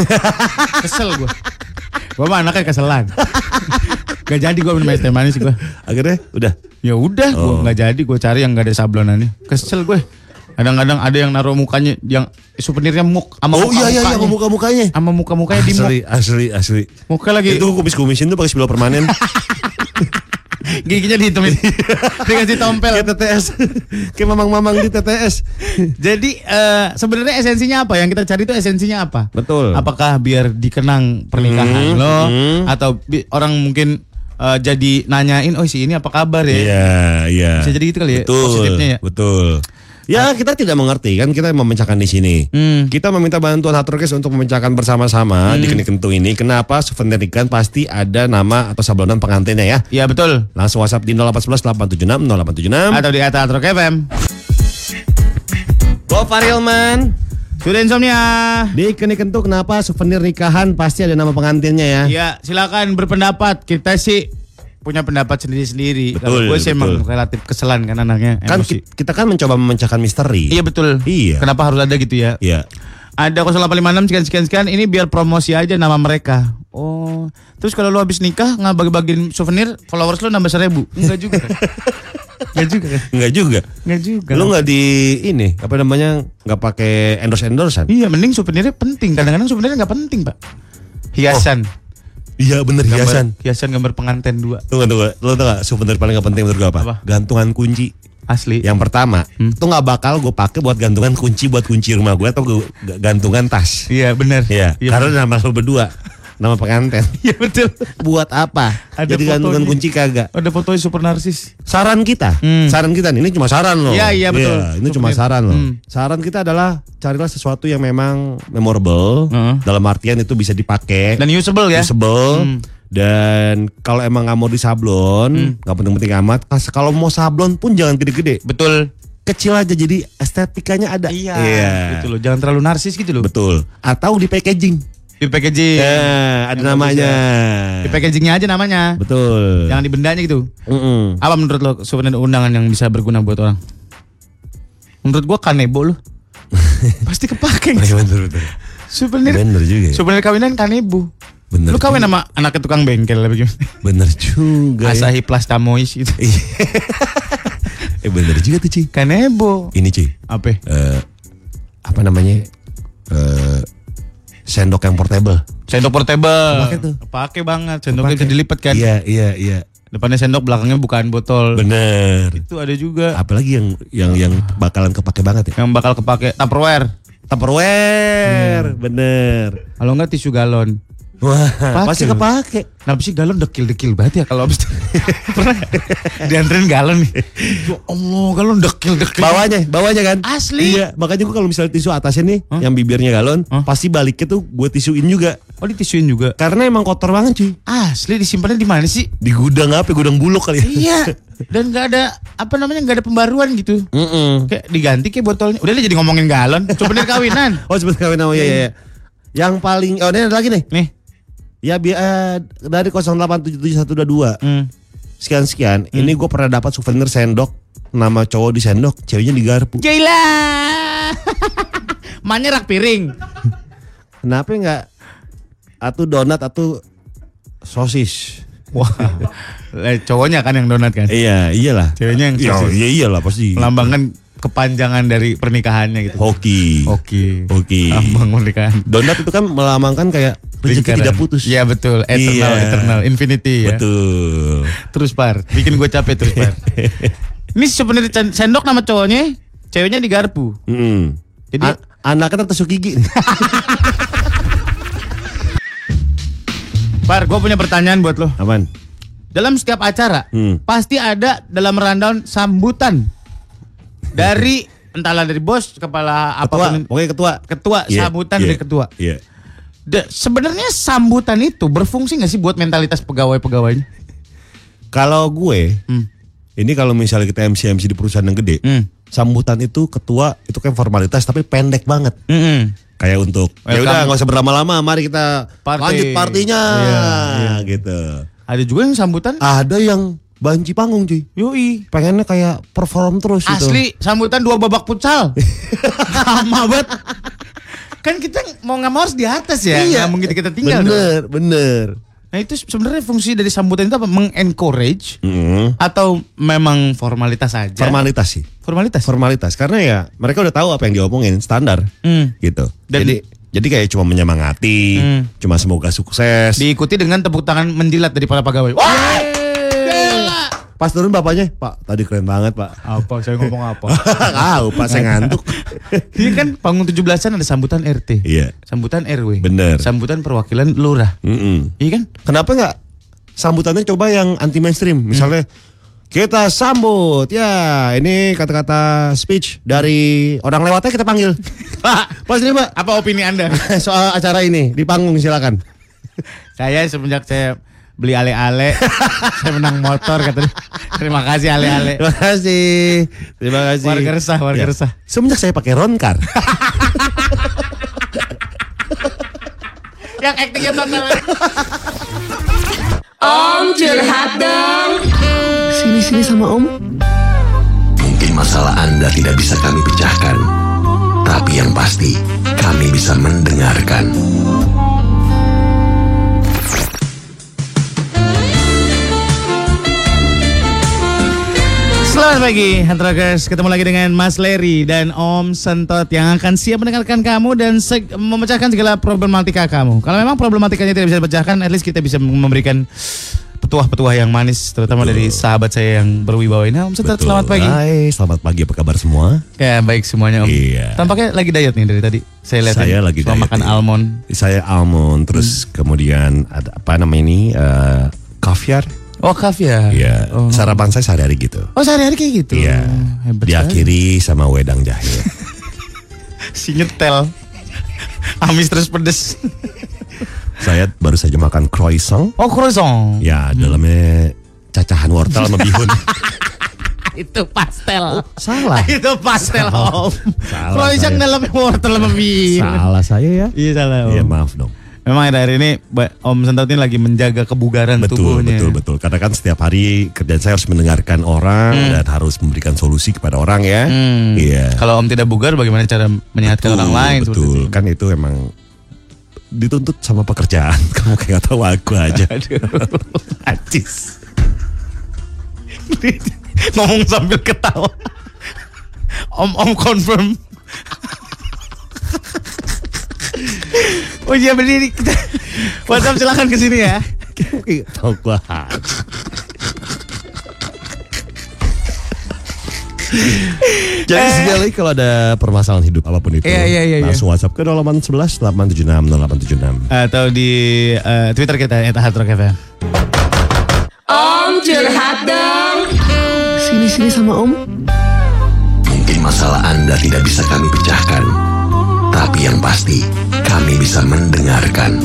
[SPEAKER 5] Kesel gue. Gue mah anaknya keselan. gak jadi gue minum es teh manis gue.
[SPEAKER 2] Akhirnya udah.
[SPEAKER 5] Ya udah gue
[SPEAKER 2] Oh.
[SPEAKER 5] nggak jadi gue cari yang gak ada sablonannya. Kesel gue. Kadang-kadang ada yang naruh mukanya yang souvenirnya muk sama
[SPEAKER 2] Oh iya iya iya muka mukanya.
[SPEAKER 5] sama muka-mukanya di muk.
[SPEAKER 2] Asli asli asli.
[SPEAKER 5] Muka lagi
[SPEAKER 2] Itu kumis-kumisin tuh pakai sebelah permanen.
[SPEAKER 5] giginya dihitemin. Dikasih tompel.
[SPEAKER 2] Kayak TTS. Kayak mamang-mamang di TTS.
[SPEAKER 5] Jadi eh, sebenarnya esensinya apa? Yang kita cari itu esensinya apa?
[SPEAKER 2] Betul. Hmm.
[SPEAKER 5] Apakah biar dikenang pernikahan lo atau bi- orang mungkin eh, jadi nanyain, "Oh, si ini apa kabar ya?"
[SPEAKER 2] Iya, iya.
[SPEAKER 5] Bisa jadi gitu kali ya,
[SPEAKER 2] Betul,
[SPEAKER 5] positifnya ya.
[SPEAKER 2] Betul. Ya, kita tidak mengerti kan kita memecahkan di sini. Kita meminta bantuan Haturkes untuk memecahkan bersama-sama di Keni Kentu ini. Kenapa souvenir ikan pasti ada nama atau sablonan pengantinnya ya?
[SPEAKER 5] Iya, betul.
[SPEAKER 2] Langsung WhatsApp di 0811 876 0876.
[SPEAKER 5] Atau di Atta Rock FM.
[SPEAKER 2] Go Farilman.
[SPEAKER 5] Sudah insomnia.
[SPEAKER 2] Di Keni Kentu kenapa souvenir nikahan pasti ada nama pengantinnya ya?
[SPEAKER 5] Ya, silakan berpendapat. Kita sih punya pendapat sendiri-sendiri. Kalau
[SPEAKER 2] Betul,
[SPEAKER 5] gue sih emang
[SPEAKER 2] betul.
[SPEAKER 5] relatif keselan kan anaknya.
[SPEAKER 2] Kan ki-
[SPEAKER 5] emosi.
[SPEAKER 2] kita kan mencoba memecahkan misteri.
[SPEAKER 5] Iya betul.
[SPEAKER 2] Iya.
[SPEAKER 5] Kenapa harus ada gitu ya?
[SPEAKER 2] Iya.
[SPEAKER 5] Ada 0856 sekian sekian sekian ini biar promosi aja nama mereka. Oh, terus kalau lu habis nikah nggak bagi-bagiin souvenir, followers lu nambah seribu? Enggak juga. Enggak juga.
[SPEAKER 2] Enggak juga.
[SPEAKER 5] Enggak juga.
[SPEAKER 2] Lu nggak di ini apa namanya nggak pakai endorse endorsean?
[SPEAKER 5] Iya, mending souvenirnya penting. Kadang-kadang souvenirnya nggak penting, Pak. Hiasan.
[SPEAKER 2] Iya bener
[SPEAKER 5] Gambar-
[SPEAKER 2] hiasan.
[SPEAKER 5] Hiasan gambar pengantin dua.
[SPEAKER 2] Tunggu tunggu, lo tau gak souvenir paling gak penting menurut gue apa?
[SPEAKER 5] Apa? Hmm.
[SPEAKER 2] Gantungan kunci.
[SPEAKER 5] Asli.
[SPEAKER 2] Yang pertama, itu gak bakal gue pakai buat gantungan kunci buat kunci rumah gue atau gue gantungan tas.
[SPEAKER 5] Iya, benar.
[SPEAKER 2] Iya,
[SPEAKER 5] bener.
[SPEAKER 2] karena nama lo berdua, nama pengantin.
[SPEAKER 5] Iya, betul.
[SPEAKER 2] buat apa?
[SPEAKER 5] Ada
[SPEAKER 2] Jadi gantungan
[SPEAKER 5] fotonya.
[SPEAKER 2] kunci kagak.
[SPEAKER 5] Oh, Ada fotonya super narsis.
[SPEAKER 2] Saran kita,
[SPEAKER 5] Hmm.
[SPEAKER 2] saran kita nih, ini cuma saran loh.
[SPEAKER 5] Iya, iya, betul.
[SPEAKER 2] ini cuma
[SPEAKER 5] Souvenir.
[SPEAKER 2] saran loh.
[SPEAKER 5] Hmm.
[SPEAKER 2] Saran kita adalah carilah sesuatu yang memang memorable,
[SPEAKER 5] Heeh.
[SPEAKER 2] dalam artian itu bisa dipakai.
[SPEAKER 5] Dan usable ya.
[SPEAKER 2] usable
[SPEAKER 5] Hmm.
[SPEAKER 2] dan kalau emang nggak mau di sablon nggak penting-penting amat Kas- kalau mau sablon pun jangan gede-gede
[SPEAKER 5] Betul.
[SPEAKER 2] kecil aja jadi estetikanya ada
[SPEAKER 5] Iya. Gitu loh, jangan terlalu narsis gitu loh.
[SPEAKER 2] betul atau di packaging
[SPEAKER 5] Di packaging.
[SPEAKER 2] ya ada
[SPEAKER 5] Yang
[SPEAKER 2] namanya
[SPEAKER 5] Di packagingnya aja namanya.
[SPEAKER 2] betul
[SPEAKER 5] Jangan di bendanya gitu.
[SPEAKER 2] Mm-mm.
[SPEAKER 5] Apa menurut lo souvenir undangan yang bisa berguna buat orang? Menurut gua kanebo lo. Pasti kepake.
[SPEAKER 2] Iya,
[SPEAKER 5] souvenir
[SPEAKER 2] bener juga ya.
[SPEAKER 5] souvenir kawinan kanebo.
[SPEAKER 2] Bener
[SPEAKER 5] Lu kawin sama anaknya tukang bengkel apa gimana?
[SPEAKER 2] bener juga ya.
[SPEAKER 5] Asahi Plastamois gitu.
[SPEAKER 2] eh bener juga tuh Ci
[SPEAKER 5] kanebo.
[SPEAKER 2] ini Ci
[SPEAKER 5] Apa?
[SPEAKER 2] eh, apa namanya Eh, sendok yang portable
[SPEAKER 5] Sendok portable.
[SPEAKER 2] Kepake tuh.
[SPEAKER 5] Pakai banget. Sendoknya bisa dilipat kan.
[SPEAKER 2] iya iya iya
[SPEAKER 5] Depannya sendok, belakangnya bukaan botol.
[SPEAKER 2] bener
[SPEAKER 5] Itu ada juga
[SPEAKER 2] apalagi yang yang yang bakalan kepake banget ya
[SPEAKER 5] yang bakal kepake Tupperware. Hmm.
[SPEAKER 2] Tupperware, bener.
[SPEAKER 5] Kalau enggak tisu galon. Eh,
[SPEAKER 2] Wah, pasti
[SPEAKER 5] loh.
[SPEAKER 2] kepake.
[SPEAKER 5] Kenapa sih galon dekil-dekil banget ya kalau habis pernah dianterin galon nih. Ya Allah, galon dekil-dekil.
[SPEAKER 2] Bawahnya, bawahnya kan?
[SPEAKER 5] Asli.
[SPEAKER 2] Iya, makanya gue kalau misalnya tisu atasnya nih,
[SPEAKER 5] Hah?
[SPEAKER 2] yang bibirnya galon,
[SPEAKER 5] Hah?
[SPEAKER 2] pasti baliknya tuh gue tisuin juga.
[SPEAKER 5] Oh, ditisuin juga.
[SPEAKER 2] Karena emang kotor banget cuy.
[SPEAKER 5] Asli disimpannya di mana sih?
[SPEAKER 2] Di gudang apa? ya? Gudang buluk kali. ya.
[SPEAKER 5] Iya. Dan nggak ada apa namanya nggak ada pembaruan gitu. Kayak diganti kayak botolnya. Udah deh jadi ngomongin galon. Coba deh kawinan.
[SPEAKER 2] Oh sebut kawin nama ya, ya, ya. Yang paling, oh ini ada lagi nih.
[SPEAKER 5] Iya. Nih.
[SPEAKER 2] Ya bi- eh, dari 0877122
[SPEAKER 5] Hmm.
[SPEAKER 2] sekian sekian. Ini gue pernah dapat souvenir sendok nama cowok di sendok, ceweknya di garpu.
[SPEAKER 5] Gila. Mannya rak piring.
[SPEAKER 2] Kenapa nggak atau donat atau sosis?
[SPEAKER 5] Wah. Eh, cowoknya kan yang donat kan.
[SPEAKER 2] Iya, iyalah.
[SPEAKER 5] Ceweknya yang
[SPEAKER 2] Iya,
[SPEAKER 5] sosis.
[SPEAKER 2] iya iyalah pasti.
[SPEAKER 5] Melambangkan kepanjangan dari pernikahannya gitu.
[SPEAKER 2] Hoki.
[SPEAKER 5] Oke.
[SPEAKER 2] Hoki.
[SPEAKER 5] Lambang pernikahan.
[SPEAKER 2] Donat itu kan melambangkan kayak rezeki
[SPEAKER 5] Lingkaran.
[SPEAKER 2] tidak putus.
[SPEAKER 5] Iya betul, eternal,
[SPEAKER 2] Iya.
[SPEAKER 5] eternal, infinity ya.
[SPEAKER 2] Betul.
[SPEAKER 5] Terus par, bikin gue capek terus par. Ini sebenarnya cen- sendok nama cowoknya, ceweknya di garpu.
[SPEAKER 2] Mm.
[SPEAKER 5] Jadi
[SPEAKER 2] A- anaknya tertusuk gigi.
[SPEAKER 5] par, gue punya pertanyaan buat lo.
[SPEAKER 2] Aman.
[SPEAKER 5] Dalam setiap acara
[SPEAKER 2] Hmm.
[SPEAKER 5] pasti ada dalam rundown sambutan dari entahlah dari bos, kepala
[SPEAKER 2] Ketua,
[SPEAKER 5] apapun
[SPEAKER 2] pokoknya ketua.
[SPEAKER 5] ketua
[SPEAKER 2] Iya,
[SPEAKER 5] sambutan
[SPEAKER 2] iya,
[SPEAKER 5] dari ketua.
[SPEAKER 2] Iya.
[SPEAKER 5] Da- sebenarnya sambutan itu berfungsi nggak sih buat mentalitas pegawai-pegawainya?
[SPEAKER 2] Kalau gue,
[SPEAKER 5] Hmm.
[SPEAKER 2] ini kalau misalnya kita MC MC di perusahaan yang gede,
[SPEAKER 5] Hmm.
[SPEAKER 2] sambutan itu ketua itu kan formalitas tapi pendek banget. Kayak untuk ya
[SPEAKER 5] Welcome.
[SPEAKER 2] udah nggak usah berlama-lama, mari kita
[SPEAKER 5] Party.
[SPEAKER 2] lanjut partinya
[SPEAKER 5] Iya,
[SPEAKER 2] gitu.
[SPEAKER 5] Ada juga yang sambutan.
[SPEAKER 2] Ada yang banci panggung cuy.
[SPEAKER 5] Yoi.
[SPEAKER 2] Pengennya kayak perform terus gitu.
[SPEAKER 5] Asli sambutan dua babak pucal. Lama banget. Kan kita mau nggak mau harus di atas ya. Iya. mungkin kita tinggal. dong.
[SPEAKER 2] Bener, bener.
[SPEAKER 5] Nah itu sebenarnya fungsi dari sambutan itu apa? Mengencourage
[SPEAKER 2] Mm.
[SPEAKER 5] atau memang formalitas aja?
[SPEAKER 2] Formalitas sih.
[SPEAKER 5] formalitas.
[SPEAKER 2] Formalitas karena ya mereka udah tahu apa yang diomongin standar
[SPEAKER 5] Hmm.
[SPEAKER 2] gitu.
[SPEAKER 5] Dan-
[SPEAKER 2] jadi jadi kayak cuma menyemangati,
[SPEAKER 5] Hmm.
[SPEAKER 2] cuma semoga sukses.
[SPEAKER 5] Diikuti dengan tepuk tangan menjilat dari para pegawai. Wah! Gila!
[SPEAKER 2] Pas turun bapaknya, Pak tadi keren banget Pak.
[SPEAKER 5] Apa? Saya ngomong apa?
[SPEAKER 2] Tahu Pak saya ngantuk.
[SPEAKER 5] Ini kan panggung 17-an ada sambutan RT.
[SPEAKER 2] Iya.
[SPEAKER 5] Sambutan RW.
[SPEAKER 2] Bener.
[SPEAKER 5] Sambutan perwakilan lurah.
[SPEAKER 2] Mm-mm.
[SPEAKER 5] Iya kan?
[SPEAKER 2] Kenapa nggak sambutannya coba yang anti mainstream? Misalnya kita sambut ya ini kata-kata speech dari orang lewatnya kita panggil.
[SPEAKER 5] Pak,
[SPEAKER 2] Pas ini Pak
[SPEAKER 5] apa opini Anda?
[SPEAKER 2] soal acara ini di panggung silakan.
[SPEAKER 5] Saya semenjak saya beli ale-ale, saya menang motor katanya. Terima kasih ale-ale.
[SPEAKER 2] Terima kasih. Terima kasih.
[SPEAKER 5] Warga resah, warga
[SPEAKER 2] Ya.
[SPEAKER 5] resah.
[SPEAKER 2] Semenjak saya pakai roncar.
[SPEAKER 5] Yang aktingnya total.
[SPEAKER 9] Om curhat dong. Sini sini sama Om.
[SPEAKER 6] Mungkin masalah Anda tidak bisa kami pecahkan, tapi yang pasti kami bisa mendengarkan.
[SPEAKER 5] Selamat pagi, Hantrokers. Ketemu lagi dengan Mas Leri dan Om Sentot yang akan siap mendengarkan kamu dan seg- memecahkan segala problematika kamu. Kalau memang problematikanya tidak bisa dipecahkan, at least kita bisa memberikan petuah-petuah yang manis, terutama dari sahabat saya yang berwibawa ini. Om Sentot, selamat pagi.
[SPEAKER 2] Hai, selamat pagi apa kabar semua?
[SPEAKER 5] Ya baik semuanya om.
[SPEAKER 2] Iya.
[SPEAKER 5] Tampaknya lagi diet nih dari tadi. Saya lihat
[SPEAKER 2] Saya lagi diet
[SPEAKER 5] makan
[SPEAKER 2] nih.
[SPEAKER 5] almond.
[SPEAKER 2] Saya almond
[SPEAKER 5] Hmm.
[SPEAKER 2] terus kemudian ada apa namanya ini eh, kaviar.
[SPEAKER 5] Oh kaviar.
[SPEAKER 2] Iya,
[SPEAKER 5] Oh,
[SPEAKER 2] sarapan saya sehari-hari gitu.
[SPEAKER 5] Oh, sehari-hari kayak gitu.
[SPEAKER 2] Iya.
[SPEAKER 5] Hebat. sekali.
[SPEAKER 2] Diakhiri sama wedang jahe.
[SPEAKER 5] si nyetel. Amis terus pedes.
[SPEAKER 2] saya baru saja makan croissant.
[SPEAKER 5] Oh croissant.
[SPEAKER 2] Ya, dalamnya cacahan wortel sama bihun.
[SPEAKER 5] Itu pastel.
[SPEAKER 2] Salah.
[SPEAKER 5] Itu pastel om.
[SPEAKER 2] Salah
[SPEAKER 5] Croissant
[SPEAKER 2] saya.
[SPEAKER 5] dalam wortel lebih.
[SPEAKER 2] Salah saya ya.
[SPEAKER 5] Iya salah om.
[SPEAKER 2] Iya, maaf dong.
[SPEAKER 5] Memang ada hari ini ba- Om Sentot ini lagi menjaga kebugaran
[SPEAKER 2] Betul,
[SPEAKER 5] tubuhnya.
[SPEAKER 2] betul, betul. Karena kan setiap hari kerjaan saya harus mendengarkan orang dan harus memberikan solusi kepada orang ya.
[SPEAKER 5] Hmm.
[SPEAKER 2] Iya.
[SPEAKER 5] Kalau Om tidak bugar bagaimana cara menyehatkan
[SPEAKER 2] Betul,
[SPEAKER 5] orang lain seperti
[SPEAKER 2] betul.
[SPEAKER 5] itu?
[SPEAKER 2] Kan itu emang dituntut sama pekerjaan. Kamu kayak gak tahu aku aja. Acis.
[SPEAKER 5] ngomong sambil ketawa. Om Om confirm. oh iya berdiri kita. WhatsApp silakan ke sini ya.
[SPEAKER 2] Tahu gua aja. Jadi sekali kalau ada permasalahan hidup apapun itu,
[SPEAKER 5] Eh. Iya, iya, iya, iya.
[SPEAKER 2] langsung WhatsApp ke 0811 876 0876.
[SPEAKER 5] Atau di eh, Twitter kita at Hard Rock FM.
[SPEAKER 10] Sini-sini sama om. Mungkin masalah Anda tidak bisa kami pecahkan. Tapi yang pasti, kami bisa mendengarkan.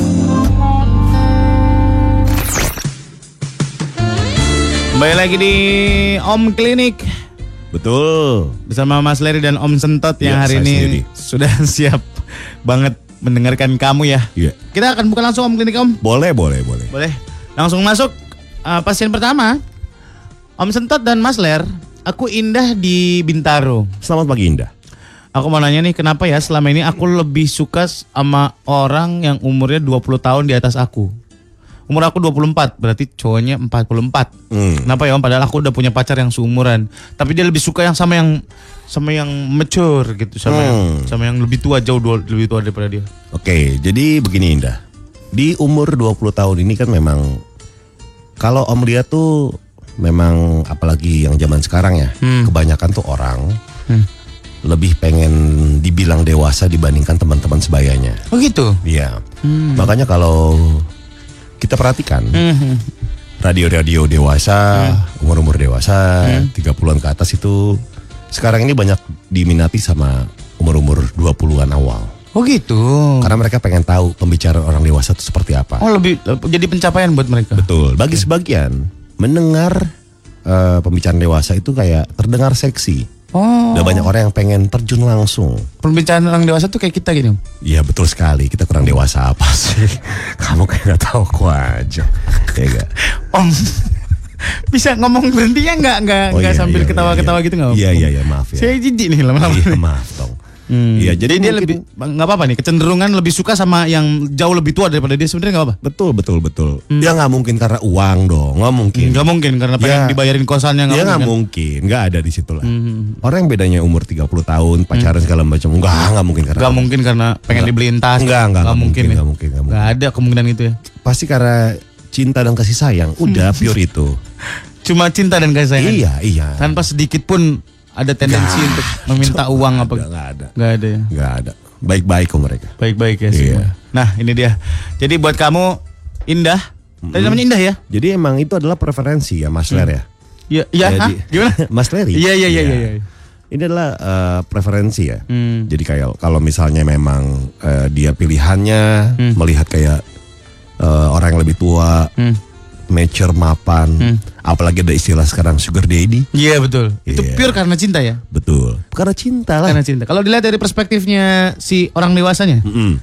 [SPEAKER 5] Kembali lagi di Om Klinik
[SPEAKER 2] Betul.
[SPEAKER 5] bersama Mas Leri dan Om Sentot
[SPEAKER 2] Iya,
[SPEAKER 5] yang hari
[SPEAKER 2] saya
[SPEAKER 5] ini
[SPEAKER 2] sendiri.
[SPEAKER 5] sudah siap banget mendengarkan kamu ya.
[SPEAKER 2] Iya.
[SPEAKER 5] Kita akan buka langsung Om Klinik Om.
[SPEAKER 2] Boleh, boleh, boleh.
[SPEAKER 5] Boleh. Langsung masuk eh, pasien pertama. Om Sentot dan Mas Ler, aku indah di Bintaro.
[SPEAKER 2] Selamat pagi Indah.
[SPEAKER 5] Aku mau nanya nih kenapa ya selama ini aku lebih suka sama orang yang umurnya 20 tahun di atas aku. Umur aku 24, berarti cowoknya 44. Kenapa ya Om? Padahal aku udah punya pacar yang seumuran. Tapi dia lebih suka yang sama yang sama yang mature gitu, sama yang sama yang lebih tua jauh dua- lebih tua daripada dia.
[SPEAKER 2] Oke, jadi begini Indah. Di umur 20 tahun ini kan memang kalau Om lihat tuh memang apalagi yang zaman sekarang ya, kebanyakan tuh orang lebih pengen dibilang dewasa dibandingkan teman-teman sebayanya.
[SPEAKER 5] Oh gitu.
[SPEAKER 2] Iya. Makanya kalau kita perhatikan radio-radio dewasa, umur-umur dewasa, 30-an ke atas itu sekarang ini banyak diminati sama umur-umur 20-an awal.
[SPEAKER 5] Oh gitu.
[SPEAKER 2] Karena mereka pengen tahu pembicaraan orang dewasa itu seperti apa.
[SPEAKER 5] Oh lebih jadi pencapaian buat mereka.
[SPEAKER 2] Betul. Bagi sebagian mendengar eh, pembicaraan dewasa itu kayak terdengar seksi.
[SPEAKER 5] Oh,
[SPEAKER 2] Udah banyak orang yang pengen terjun langsung.
[SPEAKER 5] pembicaraan orang dewasa tuh kayak kita gitu. gini. Om.
[SPEAKER 2] Iya betul sekali. Kita kurang
[SPEAKER 5] Hmm.
[SPEAKER 2] dewasa apa sih? Kamu kayak gak tahu aku aja. Ya gak?
[SPEAKER 5] Om Oh, bisa ngomong berhentinya nggak nggak
[SPEAKER 2] Oh,
[SPEAKER 5] nggak
[SPEAKER 2] iya,
[SPEAKER 5] sambil
[SPEAKER 2] iya, iya,
[SPEAKER 5] ketawa-ketawa
[SPEAKER 2] iya.
[SPEAKER 5] gitu nggak? Om?
[SPEAKER 2] Iya iya iya maaf ya.
[SPEAKER 5] Saya jijik nih lama-lama.
[SPEAKER 2] Iya maaf dong. Iya jadi
[SPEAKER 5] Jadi dia
[SPEAKER 2] mungkin-
[SPEAKER 5] lebih nggak apa-apa nih kecenderungan lebih suka sama yang jauh lebih tua daripada dia sebenarnya nggak apa-apa.
[SPEAKER 2] betul betul betul. Ya nggak mungkin karena uang dong. Nggak mungkin.
[SPEAKER 5] Hmm. Nggak mungkin karena pengen
[SPEAKER 2] Iya.
[SPEAKER 5] dibayarin kosannya nggak
[SPEAKER 2] Ya nggak
[SPEAKER 5] mungkin. kan? Hmm,
[SPEAKER 2] mungkin, nggak ada di situ lah. Orang yang bedanya umur 30 tahun, pacaran segala macam, nggak nggak mungkin karena
[SPEAKER 5] Nggak mungkin karena pengen
[SPEAKER 2] Nggak.
[SPEAKER 5] dibeliin tas.
[SPEAKER 2] Nggak, nggak, nggak
[SPEAKER 5] mungkin.
[SPEAKER 2] mungkin,
[SPEAKER 5] ya.
[SPEAKER 2] nggak mungkin, nggak mungkin.
[SPEAKER 5] Nggak ada kemungkinan itu ya.
[SPEAKER 2] pasti karena cinta dan kasih sayang.
[SPEAKER 5] Hmm.
[SPEAKER 2] Udah pure itu.
[SPEAKER 5] Cuma cinta dan kasih sayang.
[SPEAKER 2] iya iya.
[SPEAKER 5] Tanpa sedikit pun ada tendensi
[SPEAKER 2] Nah.
[SPEAKER 5] untuk meminta uang apa.
[SPEAKER 2] Nggak nggak ada,
[SPEAKER 5] Nggak ada ya.
[SPEAKER 2] nggak ada. Baik-baik kok mereka.
[SPEAKER 5] Baik-baik ya
[SPEAKER 2] Iya.
[SPEAKER 5] semua. Nah ini dia. Jadi buat kamu Indah. Tadi namanya Indah ya?
[SPEAKER 2] Jadi emang itu adalah preferensi ya Mas Ler ya.
[SPEAKER 5] Iya, iya, hah?
[SPEAKER 2] Jadi-
[SPEAKER 5] gimana?
[SPEAKER 2] Mas Leri.
[SPEAKER 5] Iya, iya, iya, iya, iya.
[SPEAKER 2] Ini adalah eh, preferensi ya.
[SPEAKER 5] Hmm.
[SPEAKER 2] Jadi kayak kalau misalnya memang eh, dia pilihannya
[SPEAKER 5] Hmm.
[SPEAKER 2] melihat kayak eh, orang yang lebih tua, mature mapan,
[SPEAKER 5] Hmm.
[SPEAKER 2] apalagi ada istilah sekarang sugar daddy,
[SPEAKER 5] Iya betul. Itu
[SPEAKER 2] Iya. Ah.
[SPEAKER 5] pure karena cinta ya.
[SPEAKER 2] betul. Karena cinta lah.
[SPEAKER 5] Karena cinta. Kalau dilihat dari perspektifnya si orang dewasanya,
[SPEAKER 2] Mm-mm.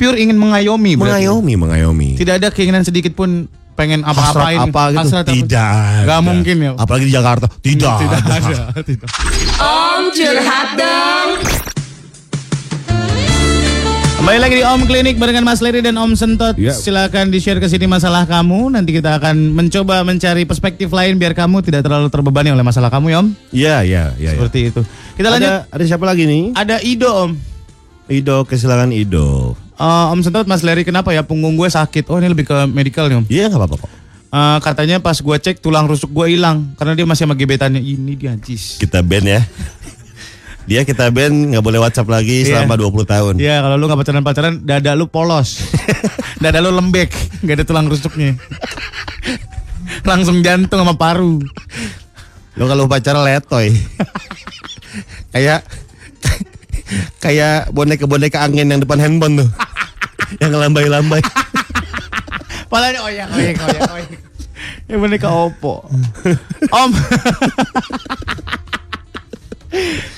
[SPEAKER 5] pure ingin mengayomi. berarti.
[SPEAKER 2] Mengayomi, mengayomi.
[SPEAKER 5] Tidak ada keinginan sedikit pun pengen
[SPEAKER 2] Hasrat
[SPEAKER 5] apa-apain.
[SPEAKER 2] apa gitu?
[SPEAKER 5] hasrat apa.
[SPEAKER 2] Tidak.
[SPEAKER 5] Gak
[SPEAKER 2] ada.
[SPEAKER 5] mungkin ya.
[SPEAKER 2] Apalagi di Jakarta. Tidak.
[SPEAKER 5] Tidak
[SPEAKER 2] ada.
[SPEAKER 5] ada. Tidak. Kembali lagi di Om Klinik barengan Mas Leri dan Om Sentot.
[SPEAKER 2] Iya.
[SPEAKER 5] Silakan di-share ke sini masalah kamu. Nanti kita akan mencoba mencari perspektif lain biar kamu tidak terlalu terbebani oleh masalah kamu, ya Om.
[SPEAKER 2] Iya, iya, iya. iya.
[SPEAKER 5] Seperti itu. Kita lanjut.
[SPEAKER 2] Ada, ada siapa lagi nih?
[SPEAKER 5] Ada Ido, Om.
[SPEAKER 2] Ido, kesilakan Ido.
[SPEAKER 5] Eh, om Sentot, Mas Leri kenapa ya punggung gue sakit? Oh ini lebih ke medical nih om.
[SPEAKER 2] Iya nggak apa-apa kok.
[SPEAKER 5] Eh, katanya pas gue cek tulang rusuk gue hilang karena dia masih sama gebetannya. Ini dia anjis.
[SPEAKER 2] Kita band ya. Dia kita band nggak boleh WhatsApp lagi
[SPEAKER 5] Iya.
[SPEAKER 2] selama 20 tahun.
[SPEAKER 5] Iya kalau lu nggak pacaran pacaran dada lu polos, dada lu lembek, nggak ada tulang rusuknya. Langsung jantung sama paru.
[SPEAKER 2] Lo kalau pacaran letoy. kayak kayak boneka-boneka angin yang depan handphone tuh. yang lambai-lambai.
[SPEAKER 5] Palanya oyak oyak oyak oyak. Ya bener ke opo. Om.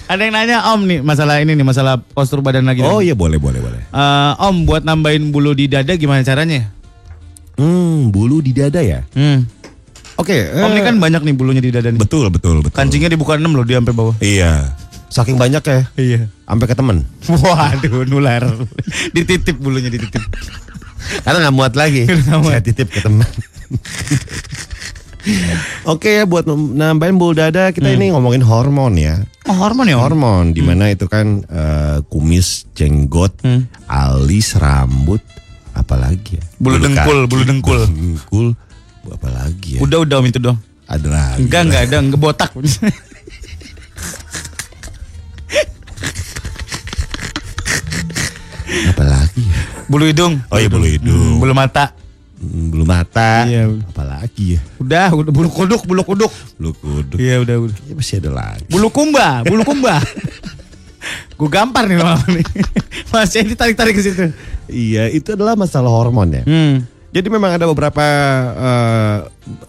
[SPEAKER 5] ada yang nanya om nih masalah ini nih masalah postur badan lagi.
[SPEAKER 2] oh
[SPEAKER 5] nih.
[SPEAKER 2] iya boleh boleh boleh.
[SPEAKER 5] Eh, om buat nambahin bulu di dada gimana caranya?
[SPEAKER 2] Hmm, bulu di dada ya.
[SPEAKER 5] Hmm.
[SPEAKER 2] Oke, eh,
[SPEAKER 5] Om ini kan banyak nih bulunya di dada nih.
[SPEAKER 2] betul betul betul.
[SPEAKER 5] Kancingnya dibuka 6 loh dia sampai bawah.
[SPEAKER 2] Iya. Saking banyak ya.
[SPEAKER 5] Iya.
[SPEAKER 2] Sampai ke temen.
[SPEAKER 5] Waduh nular. dititip bulunya dititip.
[SPEAKER 2] Karena nggak muat lagi.
[SPEAKER 5] Nggak muat.
[SPEAKER 2] Saya titip ke teman. Oke ya buat nambahin bulu dada kita ini ngomongin hormon Hmm. ya.
[SPEAKER 5] Oh, hormon ya hormon.
[SPEAKER 2] Hormon dimana itu kan eh, kumis, jenggot, alis, rambut, apalagi ya.
[SPEAKER 5] Bulu dengkul,
[SPEAKER 2] kaki,
[SPEAKER 5] bulu dengkul.
[SPEAKER 2] Dengkul, apalagi ya.
[SPEAKER 5] Udah udah om itu dong.
[SPEAKER 2] Ada lagi. ya?
[SPEAKER 5] Enggak enggak ada, enggak botak.
[SPEAKER 2] Apalagi ya?
[SPEAKER 5] Bulu hidung.
[SPEAKER 2] Oh iya bulu hidung,
[SPEAKER 5] Bulu mata.
[SPEAKER 2] Hmm, bulu mata,
[SPEAKER 5] Iya.
[SPEAKER 2] apalagi ya?
[SPEAKER 5] Udah, udah bulu kuduk, bulu kuduk.
[SPEAKER 2] Bulu kuduk.
[SPEAKER 5] Iya, udah, udah.
[SPEAKER 2] Ya, masih ada lagi.
[SPEAKER 5] Bulu kumba, bulu kumba. Gue gampar nih lama nih. Mas Edi tarik-tarik ke situ.
[SPEAKER 2] Iya, itu adalah masalah hormon ya.
[SPEAKER 5] Hmm.
[SPEAKER 2] Jadi memang ada beberapa eh,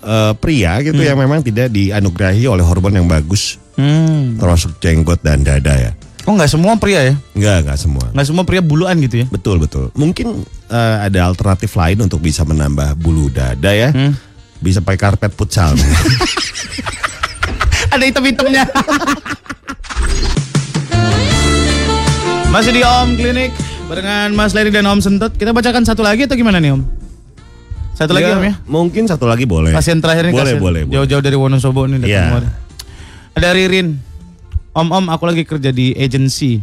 [SPEAKER 2] eh, pria gitu yang memang tidak dianugerahi oleh hormon yang bagus,
[SPEAKER 5] Hmm.
[SPEAKER 2] termasuk jenggot dan dada ya.
[SPEAKER 5] Oh nggak semua pria ya?
[SPEAKER 2] Enggak, enggak semua.
[SPEAKER 5] Nggak semua pria buluan gitu ya?
[SPEAKER 2] Betul, betul. Mungkin eh, ada alternatif lain untuk bisa menambah bulu dada ya.
[SPEAKER 5] Hmm.
[SPEAKER 2] Bisa pakai karpet futsal.
[SPEAKER 5] Iya, Ada hitam-hitamnya. Masih di Om Klinik barengan Mas Leri dan Om Sentot. Kita bacakan satu lagi atau gimana nih Om? Satu lagi
[SPEAKER 2] Ya,
[SPEAKER 5] Om ya.
[SPEAKER 2] Mungkin satu lagi boleh.
[SPEAKER 5] Pasien terakhir nih
[SPEAKER 2] Boleh,
[SPEAKER 5] pasien.
[SPEAKER 2] boleh, boleh.
[SPEAKER 5] Jauh-jauh dari Wonosobo nih datang
[SPEAKER 2] Iya.
[SPEAKER 5] kemarin. Ada Ririn. Om Om, aku lagi kerja di agency.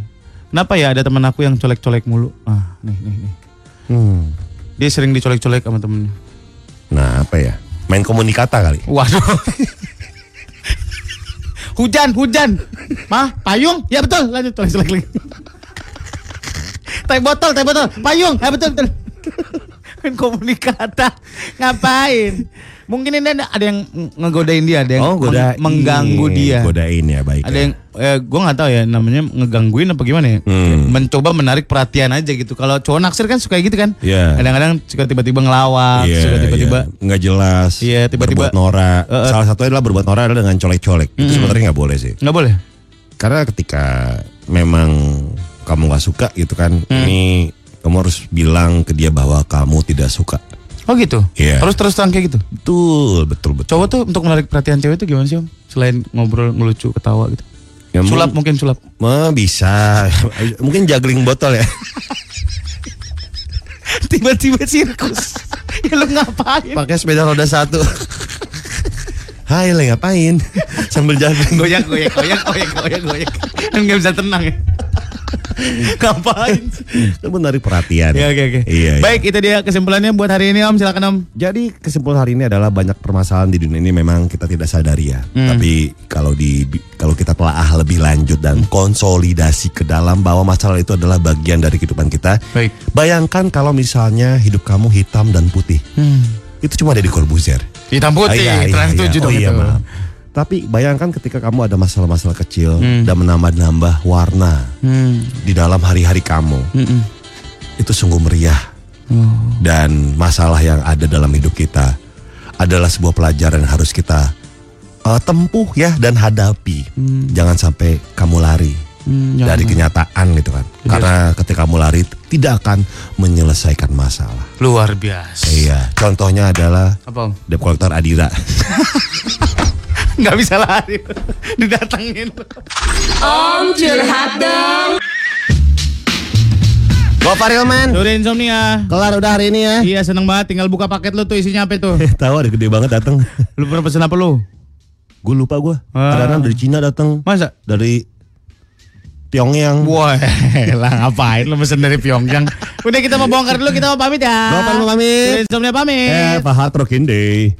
[SPEAKER 5] Kenapa ya ada teman aku yang colek-colek mulu? Ah, nih nih nih.
[SPEAKER 2] Hmm.
[SPEAKER 5] Dia sering dicolek-colek sama temennya.
[SPEAKER 2] Nah, apa ya? Main komunikata kali.
[SPEAKER 5] Waduh. hujan, hujan. Mah, payung? Ya betul. Lanjut, lanjut, lanjut. lanjut. teh botol, teh botol. Payung? Ya betul, betul. Main komunikata. Ngapain? Mungkin ini ada, ada yang ngegodain dia, ada yang meng-
[SPEAKER 2] Oh, godain.
[SPEAKER 5] mengganggu dia.
[SPEAKER 2] Godain ya, baik.
[SPEAKER 5] Ada
[SPEAKER 2] ya.
[SPEAKER 5] yang eh, gue nggak tahu ya namanya ngegangguin apa gimana ya.
[SPEAKER 2] Hmm.
[SPEAKER 5] Mencoba menarik perhatian aja gitu. Kalau cowok naksir kan suka gitu kan.
[SPEAKER 2] Iya.
[SPEAKER 5] Kadang-kadang suka tiba-tiba ngelawak,
[SPEAKER 2] Iya,
[SPEAKER 5] suka tiba-tiba
[SPEAKER 2] iya. nggak jelas.
[SPEAKER 5] Iya, tiba-tiba-
[SPEAKER 2] berbuat
[SPEAKER 5] Hmm.
[SPEAKER 2] norak.
[SPEAKER 5] Eh, eh.
[SPEAKER 2] Salah satunya adalah berbuat norak adalah dengan colek-colek. Itu sebenarnya nggak boleh sih.
[SPEAKER 5] nggak boleh.
[SPEAKER 2] Karena ketika memang kamu nggak suka gitu kan, ini kamu harus bilang ke dia bahwa kamu tidak suka.
[SPEAKER 5] Oh gitu.
[SPEAKER 2] Iya.
[SPEAKER 5] Terus terus terang kayak gitu.
[SPEAKER 2] Betul, betul, betul.
[SPEAKER 5] Cowok tuh untuk menarik perhatian cewek itu gimana sih om? Selain ngobrol, ngelucu, ketawa gitu.
[SPEAKER 2] Ya,
[SPEAKER 5] sulap
[SPEAKER 2] mung-
[SPEAKER 5] mungkin sulap.
[SPEAKER 2] Mah, bisa. Mungkin juggling botol ya.
[SPEAKER 5] Tiba-tiba sirkus. ya lu ngapain?
[SPEAKER 2] Pakai sepeda roda satu. Hai, le ngapain? Sambil juggling.
[SPEAKER 5] Goyak, goyak, goyak, goyak, goyak, goyak. Kan nggak bisa tenang ya. ngapain? sih?
[SPEAKER 2] Itu menarik perhatian.
[SPEAKER 5] Ya oke oke.
[SPEAKER 2] Iya, iya.
[SPEAKER 5] Baik itu dia kesimpulannya buat hari ini om. Silakan om.
[SPEAKER 2] Jadi kesimpulan hari ini adalah banyak permasalahan di dunia ini memang kita tidak sadari ya. Tapi kalau di kalau kita telaah lebih lanjut dan konsolidasi ke dalam bahwa masalah itu adalah bagian dari kehidupan kita.
[SPEAKER 5] Baik.
[SPEAKER 2] Bayangkan kalau misalnya hidup kamu hitam dan putih. Itu cuma ada di Corbuzier.
[SPEAKER 5] Hitam putih.
[SPEAKER 2] Ah, iya,
[SPEAKER 5] Trans
[SPEAKER 2] iya,
[SPEAKER 5] tujuh
[SPEAKER 2] iya.
[SPEAKER 5] dong
[SPEAKER 2] Oh, iya,
[SPEAKER 5] itu.
[SPEAKER 2] maaf. Tapi bayangkan ketika kamu ada masalah-masalah kecil
[SPEAKER 5] Hmm.
[SPEAKER 2] dan menambah-nambah warna di dalam hari-hari kamu. Itu sungguh meriah.
[SPEAKER 5] Oh.
[SPEAKER 2] Dan masalah yang ada dalam hidup kita adalah sebuah pelajaran yang harus kita eh, tempuh ya dan hadapi.
[SPEAKER 5] Hmm.
[SPEAKER 2] Jangan sampai kamu lari dari kenyataan gitu kan. Karena ketika kamu lari tidak akan menyelesaikan masalah.
[SPEAKER 5] Luar biasa.
[SPEAKER 2] Iya, contohnya adalah
[SPEAKER 5] Apa om?
[SPEAKER 2] debt collector Adira.
[SPEAKER 5] Nggak bisa lari. Didatengin.
[SPEAKER 6] Go Hilman.
[SPEAKER 5] Udah insomnia.
[SPEAKER 6] Kelar udah hari ini ya.
[SPEAKER 5] Iya seneng banget. Tinggal buka paket lu tuh isinya apa itu.
[SPEAKER 2] Eh, Tahu ada gede banget datang.
[SPEAKER 5] Lu pernah pesen apa lu?
[SPEAKER 2] Gue lupa gue.
[SPEAKER 5] Ah.
[SPEAKER 2] Ada anak dari Cina datang.
[SPEAKER 5] Masa?
[SPEAKER 2] Dari Pyongyang.
[SPEAKER 5] Wah, lah ngapain lu pesen dari Pyongyang? Udah kita mau bongkar dulu, kita mau pamit ya.
[SPEAKER 2] Bapak mau pamit.
[SPEAKER 5] Insomnia
[SPEAKER 2] Eh,
[SPEAKER 5] pamit.
[SPEAKER 2] Pak Hard Rock Day.